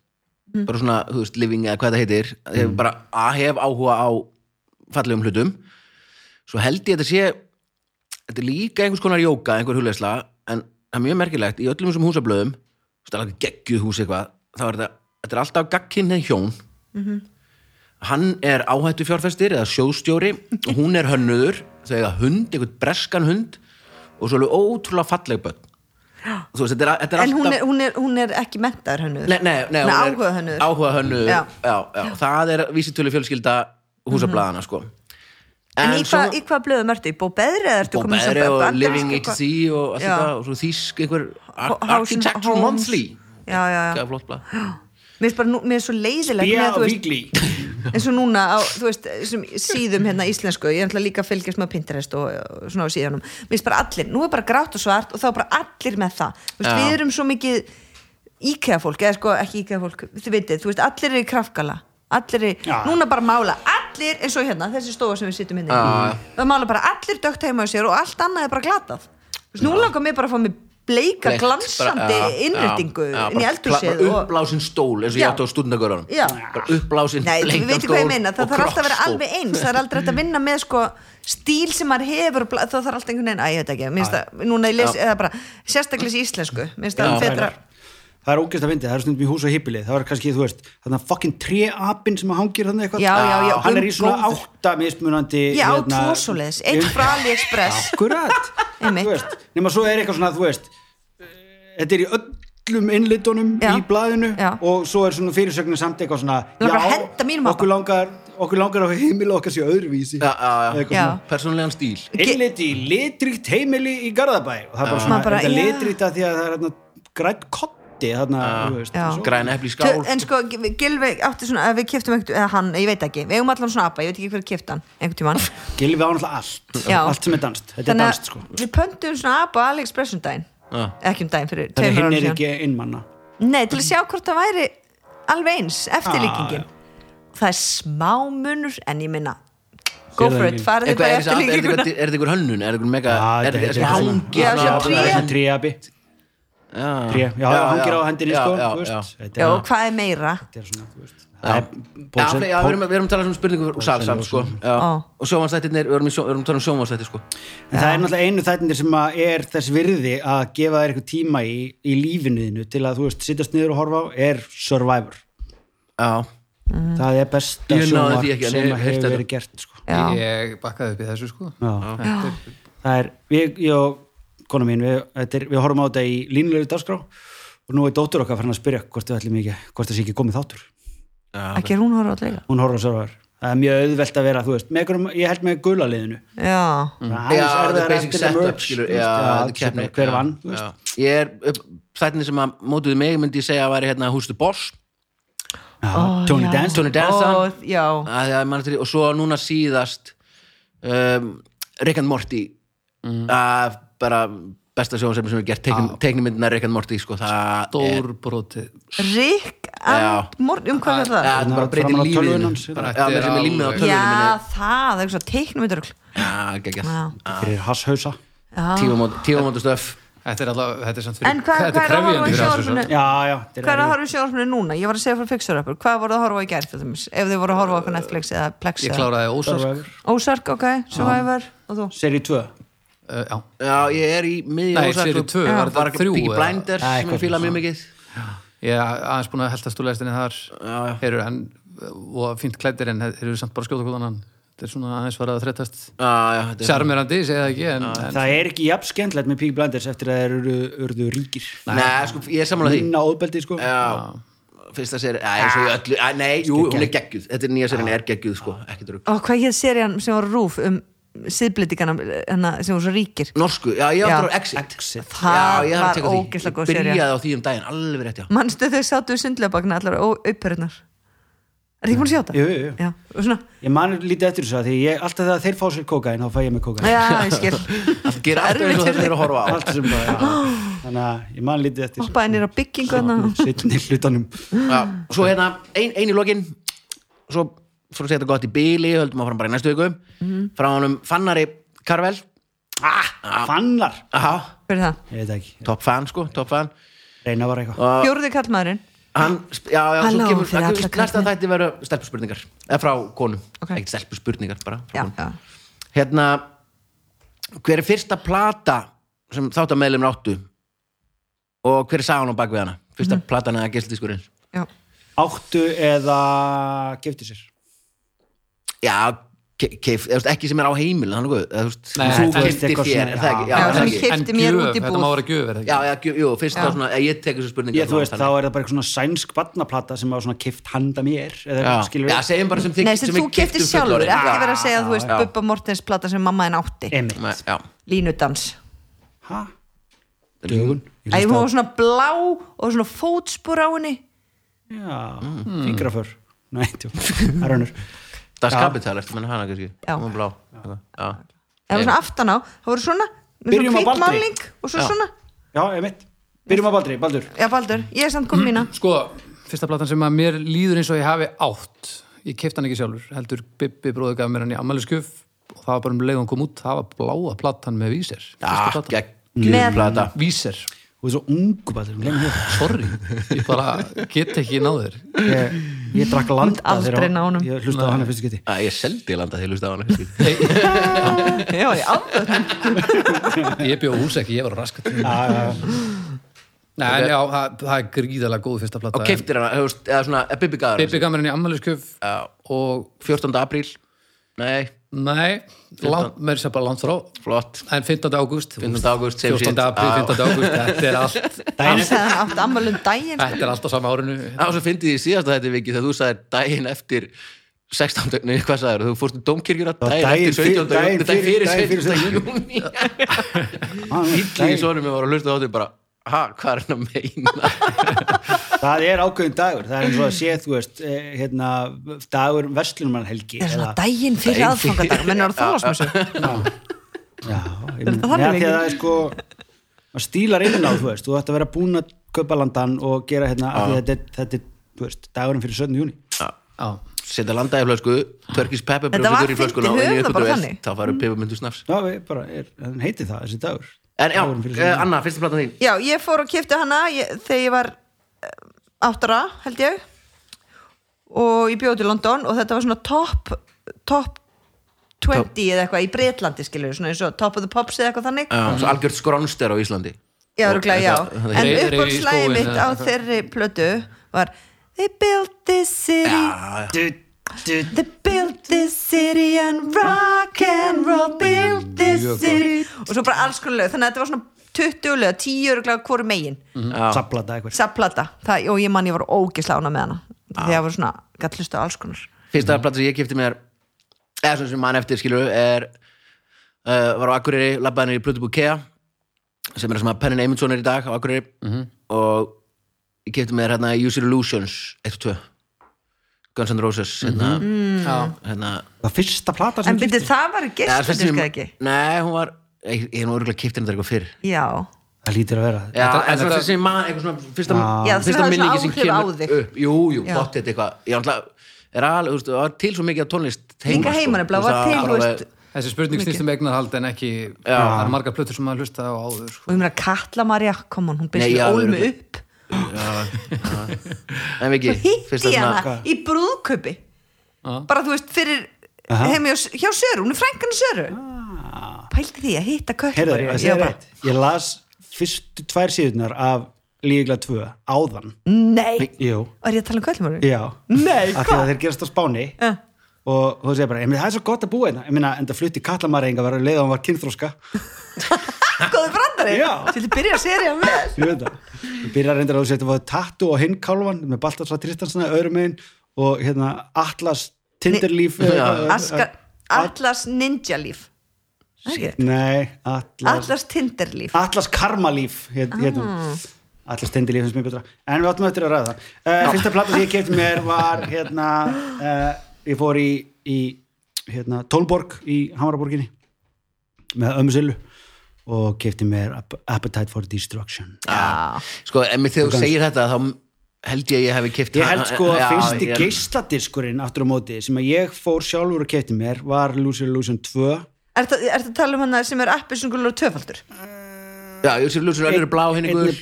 Speaker 1: bara svona, þú veist, living eða hvað það heitir ég hef bara að hef áhuga á fallegum hlutum svo held ég að þetta sé þetta er líka einhvers konar jóka, einhver hugleisla en það er mjög merkilegt, í öllum þessum húsablöðum þú veist, alveg geggjuð hús eitthvað þá er þetta, þetta er alltaf gagkinnið hjón
Speaker 2: Mhm.
Speaker 1: hann er áhættu fjárfestir eða sjóðstjóri og hún er hönnuður, þau eiga hund einhvern breskan hund og svo alveg ótrúlega falleg bönn þú veist, þetta er, þetta er
Speaker 2: en
Speaker 1: alltaf
Speaker 2: hún er, hún, er, hún er ekki mentaður hönnuður
Speaker 1: Nei, nei, nei, hún er-
Speaker 2: áhuga hönnuður
Speaker 1: Áhuga hönnuður, já.
Speaker 2: Já.
Speaker 1: Já, Það er vísitölu fjölskylda húsablaðana, sko
Speaker 2: en, í, hva, í hvað blöðum ertu? Í Bóbeðri eða ertu komin í
Speaker 1: Bóbeðri og
Speaker 2: bandarísk
Speaker 1: Living
Speaker 2: eitthvað?
Speaker 1: HC og allt
Speaker 2: Já.
Speaker 1: þetta og svo þýsk einhver Ar-
Speaker 2: Ho- House and
Speaker 1: Architectural
Speaker 2: Homes.
Speaker 1: Monthly
Speaker 2: já, já, já.
Speaker 1: Gæði flott blað
Speaker 2: Mér er, bara, nú- mér er svo leiðileg
Speaker 3: Já,
Speaker 2: með, þú veist,
Speaker 3: víkli
Speaker 2: eins og núna á, þú veist, sem síðum hérna íslensku ég er náttúrulega líka að fylgjast með Pinterest og, og svona á síðanum, mér finnst bara allir nú er bara grátt og svart og þá er bara allir með það þú veist,
Speaker 1: Já.
Speaker 2: við erum svo mikið IKEA fólk, eða sko ekki IKEA fólk þið veitir, þú veist, allir eru í kraftgala allir eru,
Speaker 3: Já.
Speaker 2: núna bara mála allir eins og hérna, þessi stofa sem við sittum hérna
Speaker 1: Já.
Speaker 2: í. það mála bara allir dögt heima á sér og allt annað er bara glatað Þú veist, nú langar mér bara að fá mig bleika glansandi innrýtingu inn í eldhúsið
Speaker 1: Bara
Speaker 2: og-
Speaker 1: uppblásin stól eins og ég
Speaker 2: Já.
Speaker 1: átti á stúdendagörðunum
Speaker 2: Já.
Speaker 1: Bara uppblásin
Speaker 2: Nei, við
Speaker 1: bleikan
Speaker 2: veitum hvað ég
Speaker 1: stól
Speaker 2: meina, það
Speaker 1: og
Speaker 2: þarf alltaf að vera
Speaker 1: kroppstól.
Speaker 2: alveg eins það er aldrei hægt að vinna með sko stíl sem maður hefur, og bla- þá þarf alltaf einhvern veginn, að ég veit ekki, minnst að, núna ég les eða bara, sérstaklega í íslensku, minnst að
Speaker 1: Já.
Speaker 2: betra,
Speaker 3: Það er ógæst að fyndi, það er stundum í hús og hýpili Það er kannski, þú veist, þannig að fucking treapin sem að hangir þannig eitthvað
Speaker 2: Já, já, já, um
Speaker 3: Hann er í svona
Speaker 2: góður.
Speaker 3: átta mismunandi hérna, um-
Speaker 2: Ég á tvo svoleiðis, einn frá AliExpress.
Speaker 3: Akkurat,
Speaker 2: Einmitt.
Speaker 3: þú veist Nefna svo er eitthvað svona, þú veist eh, Þetta er í öllum innlitunum
Speaker 2: Já.
Speaker 3: í blaðinu
Speaker 2: Já.
Speaker 3: Og svo er svona fyrirsögnin samt eitthvað svona
Speaker 2: Langar að henda mínum á
Speaker 3: okkur langar, okkur langar að heimil okkar sé öðruvísi
Speaker 1: Já, já,
Speaker 3: Eitthvað
Speaker 1: já
Speaker 2: Já.
Speaker 3: svona.
Speaker 1: Persónlegan stíl
Speaker 3: Innlit í litrikt heimili í Garðabæ Og það er bara svona,
Speaker 2: Maður Ah. bara,
Speaker 3: þetta
Speaker 2: já.
Speaker 3: litrikt að því að það er grætt kotti Þarna, þú veist,
Speaker 2: Já.
Speaker 3: svo-
Speaker 1: Græna epli í skál
Speaker 2: Tö- en sko, Gilvi átti svona, að við kiftum einhvern, eða hann, ég veit ekki, við eigum allan svona apa, ég veit ekki hver kift hann, einhvern tímann
Speaker 3: Gilvi á náttúrulega allt,
Speaker 2: Já.
Speaker 3: allt sem er danst Þetta er
Speaker 2: þannig
Speaker 3: danst sko
Speaker 2: að við pöntum svona apa á AliExpress um daginn,
Speaker 1: Já.
Speaker 2: ekki um daginn fyrir
Speaker 3: Þannig
Speaker 2: tveimur
Speaker 3: hinn
Speaker 2: árum
Speaker 3: er
Speaker 2: síðan.
Speaker 3: ekki einmanna
Speaker 2: Nei, til að sjá hvort það væri alveg eins, eftirlíkingin Það er smá munur en ég minna, go
Speaker 3: Sér það
Speaker 2: for it
Speaker 3: ekki.
Speaker 2: farið
Speaker 1: Eitthvað,
Speaker 2: bara
Speaker 1: Er þetta- er þetta
Speaker 2: eftirlíkinguna
Speaker 1: einhver- er þetta einhver hönnun? Er þetta einhver mega
Speaker 3: Já,
Speaker 1: Er
Speaker 3: þetta-
Speaker 1: þetta sem
Speaker 3: þetta er svona-
Speaker 1: hangi
Speaker 2: Já, svona
Speaker 1: svona-
Speaker 2: tré.
Speaker 3: Það er sem tríabi
Speaker 1: Já.
Speaker 3: Tré, já,
Speaker 1: Já,
Speaker 3: hangir
Speaker 1: já,
Speaker 3: á hendinni
Speaker 1: já,
Speaker 3: sko
Speaker 1: já,
Speaker 3: þú veist.
Speaker 1: já.
Speaker 3: Þetta
Speaker 2: Já,
Speaker 3: er
Speaker 2: og hvað er meira?
Speaker 3: þetta er svona, þú veist
Speaker 1: Já,
Speaker 3: Það er
Speaker 1: já,
Speaker 3: Paul-
Speaker 1: já, við erum, við erum að tala um spurningu og salsamt sko já.
Speaker 2: Ó.
Speaker 1: og sjómanstættirnir, við erum, í sjó, við erum að tala um sjómanstættir sko
Speaker 3: En það er náttúrulega einu þættindir sem að er þess virði að gefa þér eitthvað tíma í, í lífinuðinu til að þú veist, sittast niður og horfa á er Survivor.
Speaker 1: já,
Speaker 2: Mm.
Speaker 3: Það er besta
Speaker 1: Ég náði
Speaker 3: sjónvarp
Speaker 1: því ekki, en
Speaker 3: sem
Speaker 1: ég hef
Speaker 3: að
Speaker 1: heyrt
Speaker 3: hefur
Speaker 1: þetta.
Speaker 3: verið gert sko.
Speaker 2: Já,
Speaker 4: ég bakkaði upp í þessu sko
Speaker 3: Já.
Speaker 4: Þetta er-
Speaker 3: það er, við, ég og kona mín við, þetta er, við horfum á þetta í línulegu dagskrá og nú er dóttur okkar farin að spyrja hvort við ætlum ekki, hvort það sé ekki komið þáttur
Speaker 2: ekki er hún horfa allega
Speaker 3: hún horfður sörfar, það er mjög auðvelt að vera þú veist, með einhverjum, ég held með gula liðinu
Speaker 2: Já,
Speaker 3: Mm.
Speaker 1: Mm. já þetta er basic setup skilur, já, þetta er keppni
Speaker 3: hver
Speaker 1: Já,
Speaker 3: vann,
Speaker 1: já.
Speaker 3: þú veist
Speaker 1: ég er, upp- þættirnir sem að mótuðu mig myndi ég segja að væri hérna Who's the Boss
Speaker 3: Já,
Speaker 2: Ó,
Speaker 3: Tony
Speaker 2: já.
Speaker 3: Dance,
Speaker 1: Tony Danza
Speaker 2: Ó, já,
Speaker 1: að, að mann, og svo núna síðast um, Rick and Morty að bara besta sjónsefni sem er gert teiknumyndina Rick and Morty sko, það er
Speaker 4: stórbrotið
Speaker 2: Rick and Morty, um hvað er
Speaker 1: Já,
Speaker 2: það?
Speaker 1: þetta bara breytir
Speaker 3: Framan á
Speaker 1: lífið
Speaker 3: tölvunni
Speaker 1: þínu.
Speaker 3: hans,
Speaker 1: Bara-
Speaker 4: þetta
Speaker 1: já,
Speaker 4: er
Speaker 1: með sem er límið á
Speaker 4: alveg-
Speaker 1: tölvunni
Speaker 2: Já,
Speaker 1: minni.
Speaker 2: það, það er svona teiknumyndurugl
Speaker 1: já, geggjað
Speaker 2: Já.
Speaker 3: fyrir hasshausa
Speaker 1: tífamóta stöf
Speaker 4: Þetta er allavega, þetta er samt fyrir
Speaker 2: En hvað-
Speaker 4: þetta
Speaker 2: hvað er að horfa í
Speaker 4: krefjandi fyrir þessu,
Speaker 2: sjónvarpinu?
Speaker 4: sko.
Speaker 3: já, já, þetta
Speaker 2: Hvað er að
Speaker 3: erfitt.
Speaker 2: horfa í sjónvarpinu núna? Ég var að segja fyrir fixur-uppur Hvað voru að horfa í gært? Ef þið voru að horfa okkur Netflix eða Plex
Speaker 4: Ég
Speaker 2: eða
Speaker 4: kláraði ósark
Speaker 3: Survivor.
Speaker 2: Ósark, ok, Survivor og þú?
Speaker 3: Seríu 2
Speaker 4: Uh, já.
Speaker 1: Já, ég er í miðjum
Speaker 4: Nei, seríu 2,
Speaker 2: Já.
Speaker 4: var
Speaker 1: Bara
Speaker 4: þetta þrjú?
Speaker 1: Peaky
Speaker 4: eða?
Speaker 1: Blinders
Speaker 3: Já,
Speaker 1: sem
Speaker 3: eitthvað
Speaker 1: ég fíla
Speaker 3: svona.
Speaker 1: mjög mikið
Speaker 4: Ég er aðeins búin að heldast úr lestinni þar
Speaker 1: já.
Speaker 4: Eru enn og fínt klættir en þeir eru samt bara að skjóta hvort annan Þetta er svona aðeins var að þreytast
Speaker 1: Já, já, þetta er
Speaker 4: Sjarmerandi, segja það ekki en, en,
Speaker 3: það er ekki jafn skemmtilegt með Peaky Blinders eftir að þeir eru urðu ríkir
Speaker 1: Nei, sko, ég er samanlega því
Speaker 3: minna óðbeldi sko
Speaker 1: Já, fyrsta séri Æ, svo ég öllu Æ, nei, jú, hún er geggjuð Þetta er nýja sérin, er geggjuð, sko Ekki drugg
Speaker 2: og hvað hér serían sem var á rúf um síðblendingana hana, sem voru svo ríkir
Speaker 1: Norsku, já, ég
Speaker 2: Já.
Speaker 1: áttur á Exit
Speaker 3: Exit.
Speaker 1: Já,
Speaker 2: það
Speaker 1: ég þarf að
Speaker 2: var
Speaker 1: teka á því
Speaker 2: ógeðslega góð
Speaker 1: Ég
Speaker 2: serían
Speaker 1: Byrjaði á því um daginn, alveg rétt, já
Speaker 2: mannstu þau sátu við sundlefabakna allar og upphörunar er þið ekki búin að sjá það?
Speaker 3: Jú, jú, jú.
Speaker 2: Já, og svona,
Speaker 3: Ég man lítið eftir þessu að því ég, alltaf þegar þeir fá sér kókain þá fæ ég mig kókain
Speaker 2: já, ég skil
Speaker 1: Það gerir alltaf eins og þetta er að horfa á
Speaker 3: Allt sem bara, já. Þannig að ég man lítið eftir
Speaker 2: hoppaði nýra byggingu þarna.
Speaker 3: Sittin í hlutanum
Speaker 1: Já, Svo hérna, ein, ein í lokin Svo, svo segja þetta gott í bíli Höldum áfram bara í næstu viku
Speaker 2: Mhm.
Speaker 1: Frá honum Fannari Karvel
Speaker 3: ah, Fannar
Speaker 1: Aha,
Speaker 2: Hver er það?
Speaker 3: Ég veit ekki,
Speaker 1: topp fan, sko, topp fan
Speaker 3: reyna var eitthvað
Speaker 2: Fjórði kallmaðurinn
Speaker 1: hann, sp- já, já,
Speaker 2: Halló,
Speaker 1: svo kemur
Speaker 2: fyrir
Speaker 1: að-
Speaker 2: alla
Speaker 1: næsta
Speaker 2: karlmenn.
Speaker 1: þætti verður stelpuspurningar eða frá konum,
Speaker 2: Ok.
Speaker 1: ekkert stelpuspurningar bara frá
Speaker 2: já,
Speaker 1: konum.
Speaker 2: já.
Speaker 1: hérna hver er fyrsta plata sem þáttameðlum ráttu og hver er sagan á bak við hana fyrsta
Speaker 2: Mhm.
Speaker 1: platan eða gæstdískurinn
Speaker 2: já.
Speaker 3: Áttu eða gefti sér
Speaker 1: já, ke- keif, eða, þú veist, ekki sem er á heimil þannig guð, eða, þú veist,
Speaker 4: Nei,
Speaker 1: þú
Speaker 4: þetta er
Speaker 1: keyptir
Speaker 3: eitthvað
Speaker 1: þér,
Speaker 3: svona-
Speaker 1: er það ekki? Já,
Speaker 3: Já,
Speaker 2: Já,
Speaker 1: er
Speaker 2: sem
Speaker 1: það
Speaker 2: ég
Speaker 1: ekki?
Speaker 2: keypti.
Speaker 4: En
Speaker 2: mér
Speaker 4: gjöf,
Speaker 2: út í
Speaker 4: þetta
Speaker 2: búð.
Speaker 4: má vera gjöf er það
Speaker 1: já,
Speaker 4: ekki?
Speaker 1: já, gjú- jú, fyrst þá svona, eh, ég tekur þessu spurningar
Speaker 3: Ég, þú
Speaker 1: svona,
Speaker 3: veist, þá
Speaker 1: þannig.
Speaker 3: er það bara eitthvað svona sænsk barnaplata sem var svona kift handa mér eða
Speaker 1: já,
Speaker 3: skilur
Speaker 1: já, segjum bara sem þið
Speaker 2: Nei, sem
Speaker 1: við
Speaker 2: þú keftir
Speaker 1: keyptum
Speaker 2: sjálfur,
Speaker 1: fullorðin.
Speaker 2: ekki
Speaker 1: Já.
Speaker 2: vera að segja þú veist
Speaker 1: já.
Speaker 2: Bubba Mortens plata sem mamma henn átti
Speaker 3: Emi,
Speaker 1: Nei, já,
Speaker 2: línudans
Speaker 3: hæ? Dögun Ég
Speaker 2: Æ, hún
Speaker 3: hlusta á-
Speaker 2: var svona blá og svona fótspur á henni
Speaker 3: Já,
Speaker 1: Hmm.
Speaker 3: fingraför Nei, tjó, það er önnur
Speaker 1: Das
Speaker 3: Já.
Speaker 1: Kapital, ertu menn hana kannski
Speaker 2: Já.
Speaker 1: Hún var blá. Já.
Speaker 2: eða svona aftan á, það voru svona með
Speaker 3: Byrjum
Speaker 2: svona
Speaker 3: á Baldri.
Speaker 2: hvítmáling og svo
Speaker 1: Já.
Speaker 2: svona
Speaker 3: Já, emitt, byrjum að Baldri, Baldur
Speaker 2: Já, Baldur, ég er samt kom mína
Speaker 4: Sko, fyrsta platan sem að mér líður eins og ég hafi átt ég kefti hann ekki sjálfur, heldur Bibbi bróði gaf mér hann í ammæliskjöf og það var bara um leið og hann kom út, það var bláa platan með víser
Speaker 1: Já,
Speaker 4: platan.
Speaker 1: geggjum
Speaker 2: Með-
Speaker 1: plata
Speaker 4: víser,
Speaker 3: Þú er svo ungu Baldur, hún lemur hér
Speaker 4: sorry ég bara get ekki náður
Speaker 3: ég, ég drakk landa
Speaker 2: aldrei ná honum.
Speaker 3: ég hlusta á hann í fyrstu
Speaker 1: Æ,
Speaker 3: geti
Speaker 1: Ah, Ég seldi landa þegar hlusta á hana kannski.
Speaker 2: Já, ég áfætt
Speaker 4: ég bjóð hús ekki, ég var raskat Nei, en já, það, það er gríðalega góð fyrsta platan
Speaker 1: Og keiftir hana, þú veist, eða svona Bibbi Gaður
Speaker 4: Bibbi gaf mér hann í ammæliskjöf og
Speaker 1: 14. apríl Nei,
Speaker 4: nei, langt, mér sem bara langt frá
Speaker 1: flott
Speaker 4: en 15. ágúst
Speaker 1: 15. ágúst, same
Speaker 4: 14.
Speaker 1: shit.
Speaker 4: apríl,
Speaker 1: Já.
Speaker 4: 15. ágúst, þetta er allt
Speaker 2: Hann sagði hann átti ammælum daginn sko.
Speaker 4: þetta er allt á sama árinu
Speaker 1: Já, svo fyndi ég síðast að þetta viki þegar þú sagðir daginn eftir 16. Nei, hvað sagðir, þú fórst um dómkirkjur að
Speaker 3: Já,
Speaker 1: daginn
Speaker 3: daginn
Speaker 1: eftir 17.
Speaker 3: fyrir-
Speaker 1: júni, daginn fyrir
Speaker 3: daginn fyrir
Speaker 1: 17. júni Ítli í sonum ég var að hlusta á þetta bara Ha, hvað er hann að meina?
Speaker 3: það er ákveðin dagur, það er eins og að sé þú veist, eh, hérna, dagur verslunumann helgi
Speaker 2: Það er svona daginn
Speaker 1: Daginn
Speaker 2: fyrir
Speaker 1: fyrir-
Speaker 2: aðfangadag menn eru að þólasmessu
Speaker 3: Já, ég
Speaker 2: Er
Speaker 3: meina,
Speaker 2: það þannig
Speaker 3: neða, því
Speaker 2: lengi?
Speaker 3: að það er sko maður stílar inn á, þú veist, þú ætti að vera búin að kaupa landan og gera hérna af því að þetta, er- þetta er, þú veist, dagurinn fyrir 17. júni
Speaker 4: Já.
Speaker 1: Setja landa í flösku, Turkish
Speaker 2: Þetta var
Speaker 1: pepperbrjóður í
Speaker 2: fyndið,
Speaker 1: flöskuna og inn í
Speaker 2: höfum það bara
Speaker 1: upptökuvél.
Speaker 2: þannig. Mm.
Speaker 1: Þá farið peppermyndu snafs
Speaker 3: Já, við bara, er, hann heiti það, þessi dagur
Speaker 1: En já,
Speaker 3: Dagurinn fyrir
Speaker 1: eh,
Speaker 3: 17.
Speaker 1: Anna, fyrsta platan þín
Speaker 2: Já, ég fór og kefti hana ég, þegar ég var eh, átta ára, held ég og ég bjóði til London og þetta var svona top top 20 eða eitthvað í Breitlandi skilur svona eins og top of the pops eða eitthvað þannig
Speaker 1: Já, svo algjört skrónster á Íslandi
Speaker 2: Já, rúglega, já.
Speaker 1: Þetta-
Speaker 2: En
Speaker 4: Reyðir í
Speaker 2: uppáhaldslægið
Speaker 4: skóinn
Speaker 2: mitt
Speaker 4: eða
Speaker 2: á
Speaker 4: eitthvað.
Speaker 2: þeirri plötu var They built this city, they built this city and rock and roll built this city og svo bara alls konar lög, þannig að þetta var svona 20 lög, 10 öruglega hvori megin
Speaker 3: Sablata eitthvað
Speaker 2: Sapplata, það, og ég man ég var ógislána með hana því að var svona, gætt hlusta á alls konar
Speaker 1: Fyrsta platan sem ég kipti mér eða svona sem mann eftir skilur er uh, var á Akureyri, labbaðinni í Plutubú Kea sem er það sem að Pennin Eymundsson er í dag á Akureyri og ég kipti mér hérna User Illusions 1 og 2 Guns N' Roses hérna,
Speaker 2: Mm.
Speaker 4: Já.
Speaker 1: hérna
Speaker 3: Það fyrsta plata sem
Speaker 2: En byrju, það var
Speaker 1: eða fyrst sem-
Speaker 2: gistadiska ekki
Speaker 1: Nei, hún var ég, ég er nú örgulega kipti henni þetta eitthvað fyrr
Speaker 2: Já,
Speaker 3: Það lítur að vera
Speaker 1: Já,
Speaker 4: Þetta-
Speaker 1: en
Speaker 4: en
Speaker 1: svona
Speaker 4: þetta-
Speaker 1: fyrst sem mann eitthvað svona fyrsta,
Speaker 2: Já, þú
Speaker 1: fyrsta
Speaker 2: hafðir svona
Speaker 1: minningi sem
Speaker 2: áhrif á
Speaker 1: kemur
Speaker 2: þig.
Speaker 1: upp Jú, jú,
Speaker 2: Já.
Speaker 1: bóttið eitthvað Ég ætla, er alveg, þú veist, það var til svo mikið af tónlist sko.
Speaker 2: líka heimann er blá, var til, þú veist
Speaker 4: þessi spurning snýst um eignarhald en ekki það er margar plötur sem maður hlusta á áður sko.
Speaker 2: og ég meina Katla Maria, kom hún, hún
Speaker 1: Nei,
Speaker 2: byrst
Speaker 1: já,
Speaker 2: ól mig
Speaker 1: örugglega.
Speaker 2: upp
Speaker 1: En Viki,
Speaker 2: hitti
Speaker 1: fyrsta
Speaker 2: ég
Speaker 1: svona
Speaker 2: hana í brúðköpi
Speaker 4: Já.
Speaker 2: bara þú veist fyrir
Speaker 3: Aha.
Speaker 2: heimi hjá, hjá Söru, hún er frænkan Söru pældi því að hitta
Speaker 3: Heyrðu,
Speaker 2: köttur
Speaker 3: ég, ég, ég, ég las fyrstu tvær síðunar af Lígla 2 áðan
Speaker 2: nei,
Speaker 3: Jú,
Speaker 2: var ég að tala um köllmörðu?
Speaker 3: já
Speaker 2: Nei,
Speaker 3: Af því
Speaker 2: hvað?
Speaker 3: að þeir gerast á Spáni
Speaker 2: Já.
Speaker 3: og þú segir bara, ég meina, það er svo gott að búa hérna ég meina, en það flutti kallamareinga var að leiða hann var kynþróska
Speaker 2: góður brandari,
Speaker 3: Já.
Speaker 2: til þið byrja að serja vel
Speaker 3: ég veit það ég byrja reyndar að þú setja fóðið tattu á hinn kálvan með Baltasar Tristansson öðrum megin og hérna Atlas Tinderlíf
Speaker 1: Nei,
Speaker 3: eh,
Speaker 1: já.
Speaker 3: eh,
Speaker 2: Askar, Atlas Ninja Líf Það er ekki?
Speaker 3: nei, Atlas
Speaker 2: Atlas Tinder Líf
Speaker 3: Atlas Karmalíf hét, ah. Atlas Tinderlíf finnst mér betra en við áttum eftir að ræða það uh, fyrsta plata sem ég kefti mér var hérna uh, ég fór í, í hérna, Tólborg í Hamaraborginni með ömmu Sillu og kefti mér App- Appetite for Destruction
Speaker 2: Já.
Speaker 1: Sko, en mér þegar þú segir þetta þá held ég að ég hefði kipt
Speaker 3: Ég held sko að fyrsti geisladiskurinn aftur á móti sem að ég fór sjálfur að kefti mér var Lucy Illusion 2
Speaker 2: Ertu ertu að tala um hana sem er appisungul og töfaldur?
Speaker 1: Já, Júsir Lúsir, önnur er blá, henni gul
Speaker 3: Einni-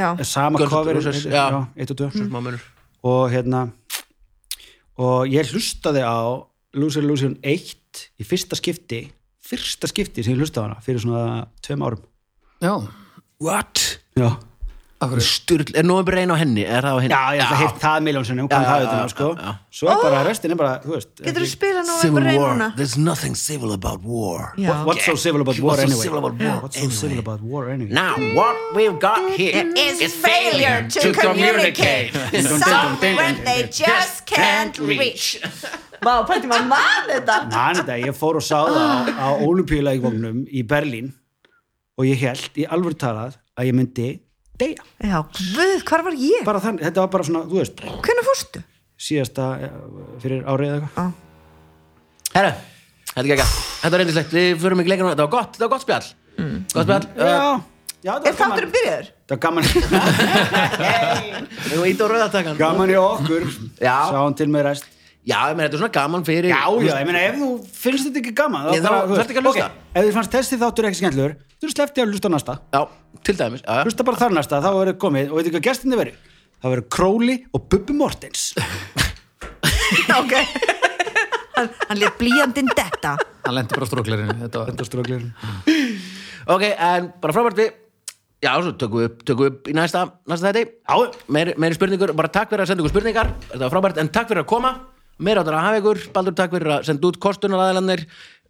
Speaker 2: já,
Speaker 3: sama
Speaker 1: Guns N'
Speaker 3: cover
Speaker 1: Roses,
Speaker 3: eitt-
Speaker 1: já.
Speaker 3: já, eitt og tvö
Speaker 1: smá munur
Speaker 3: og hérna og ég hlustaði á Loser Illusion 1 í fyrsta skipti fyrsta skipti sem ég hlustaði á hana fyrir svona tveim árum
Speaker 4: já,
Speaker 1: What?
Speaker 3: já,
Speaker 4: akkur
Speaker 1: Sturl, er nóg reyn á henni? Er það á henni?
Speaker 3: já ég ætla að hitt það miljónsinni og kann
Speaker 1: Já,
Speaker 3: það
Speaker 1: já,
Speaker 3: utan á
Speaker 1: já,
Speaker 3: sko
Speaker 1: já, já.
Speaker 3: svo er bara restin er bara, þú veist
Speaker 2: getur þú spila nú
Speaker 1: Civil
Speaker 2: einhver reyn
Speaker 1: war,
Speaker 2: núna
Speaker 1: there's nothing civil about war
Speaker 2: já,
Speaker 3: What- what's so civil about war
Speaker 1: What's so
Speaker 3: anyway
Speaker 1: civil about war
Speaker 3: what's so civil about war anyway
Speaker 1: Now what we've got here
Speaker 2: Is failure to communicate Somewhere they just can't reach Vá, pænti maður mann þetta
Speaker 3: Man, þetta, ég fór og sá það á, á olimpíuleikvóknum í Berlín og ég held í alvöru talað að ég myndi deyja.
Speaker 2: Já, guð, hvar var ég?
Speaker 3: Bara þannig, þetta var bara svona, þú veist,
Speaker 2: Hvernig fórstu?
Speaker 3: síðasta eh, fyrir árið eða eitthvað.
Speaker 1: Herra, þetta er ekki Þetta var reyndislegt, við förum ekki leikar núna Þetta var gott, þetta var gott spjall
Speaker 2: Mm.
Speaker 1: Gott spjall,
Speaker 3: Já, já,
Speaker 2: Eh,
Speaker 3: þetta
Speaker 2: Er þátturinn byrjaður?
Speaker 3: Þetta var gaman,
Speaker 1: við erum ít og rauðatakan
Speaker 3: gaman í okkur,
Speaker 1: Já.
Speaker 3: sá hann til með rest.
Speaker 1: Já, ég meina, þetta er svona gaman fyrir
Speaker 3: Já, já, ég meina, ef þú finnst þetta ekki gaman,
Speaker 1: Ég, þá
Speaker 3: bara, þú
Speaker 1: þarftu ekki að hlusta.
Speaker 3: ok, Ef þú fannst þessi þáttur ekki skemmtlur, þú eru sleftið að hlusta á næsta.
Speaker 1: Já, til dæmis, já, já
Speaker 3: Hlusta bara þar næsta, þá verður komið, og veitu hvað gestinni verður? Það verður Króli og Bubbi Mortens.
Speaker 2: Ok Hann, hann létt blíjandinn detta
Speaker 4: hann lendi bara á stróklerinu þetta var
Speaker 3: Þetta stróklir.
Speaker 1: Ok, en bara frábært við Já, svo tökum við upp, tökum við upp í næsta, næsta þetta Já meiri, meiri spurningur, bara takk fyrir að senda ykkur spurningar Þetta var frábært, en takk fyrir að koma Meira áttur að hafa ykkur, Baldur takk fyrir að senda út kostunaraðalandir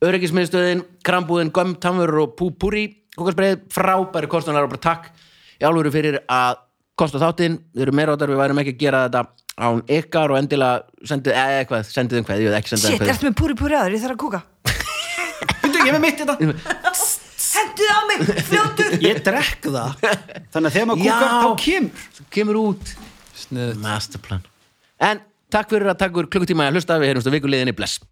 Speaker 1: Öryggismiðstöðin, krambúðin, göm, tamur og púpúri Kókarsbreið, frábæri kostunar og bara takk Í álfuru fyrir að kosta þáttinn Við erum meira áttur, við værum ekki að gera þetta án ykkar og endilega sendið eða eitthvað, sendið um hvað, ég veit ekki sendið
Speaker 2: Shit,
Speaker 1: um
Speaker 2: ertu með púri púri aður, ég þarf að kúka
Speaker 3: Veitu, ég er með mitt hérna. þetta.
Speaker 2: Hendu á mig, fljótu
Speaker 3: ég drekk það þannig að þegar maður kúkar
Speaker 1: Já.
Speaker 3: þá kemur
Speaker 1: hvað Kemur út
Speaker 4: sniðut
Speaker 1: Masterplan En takk fyrir að takkur klukkutíma að hlusta Við heyrumst á vikuleginni, bless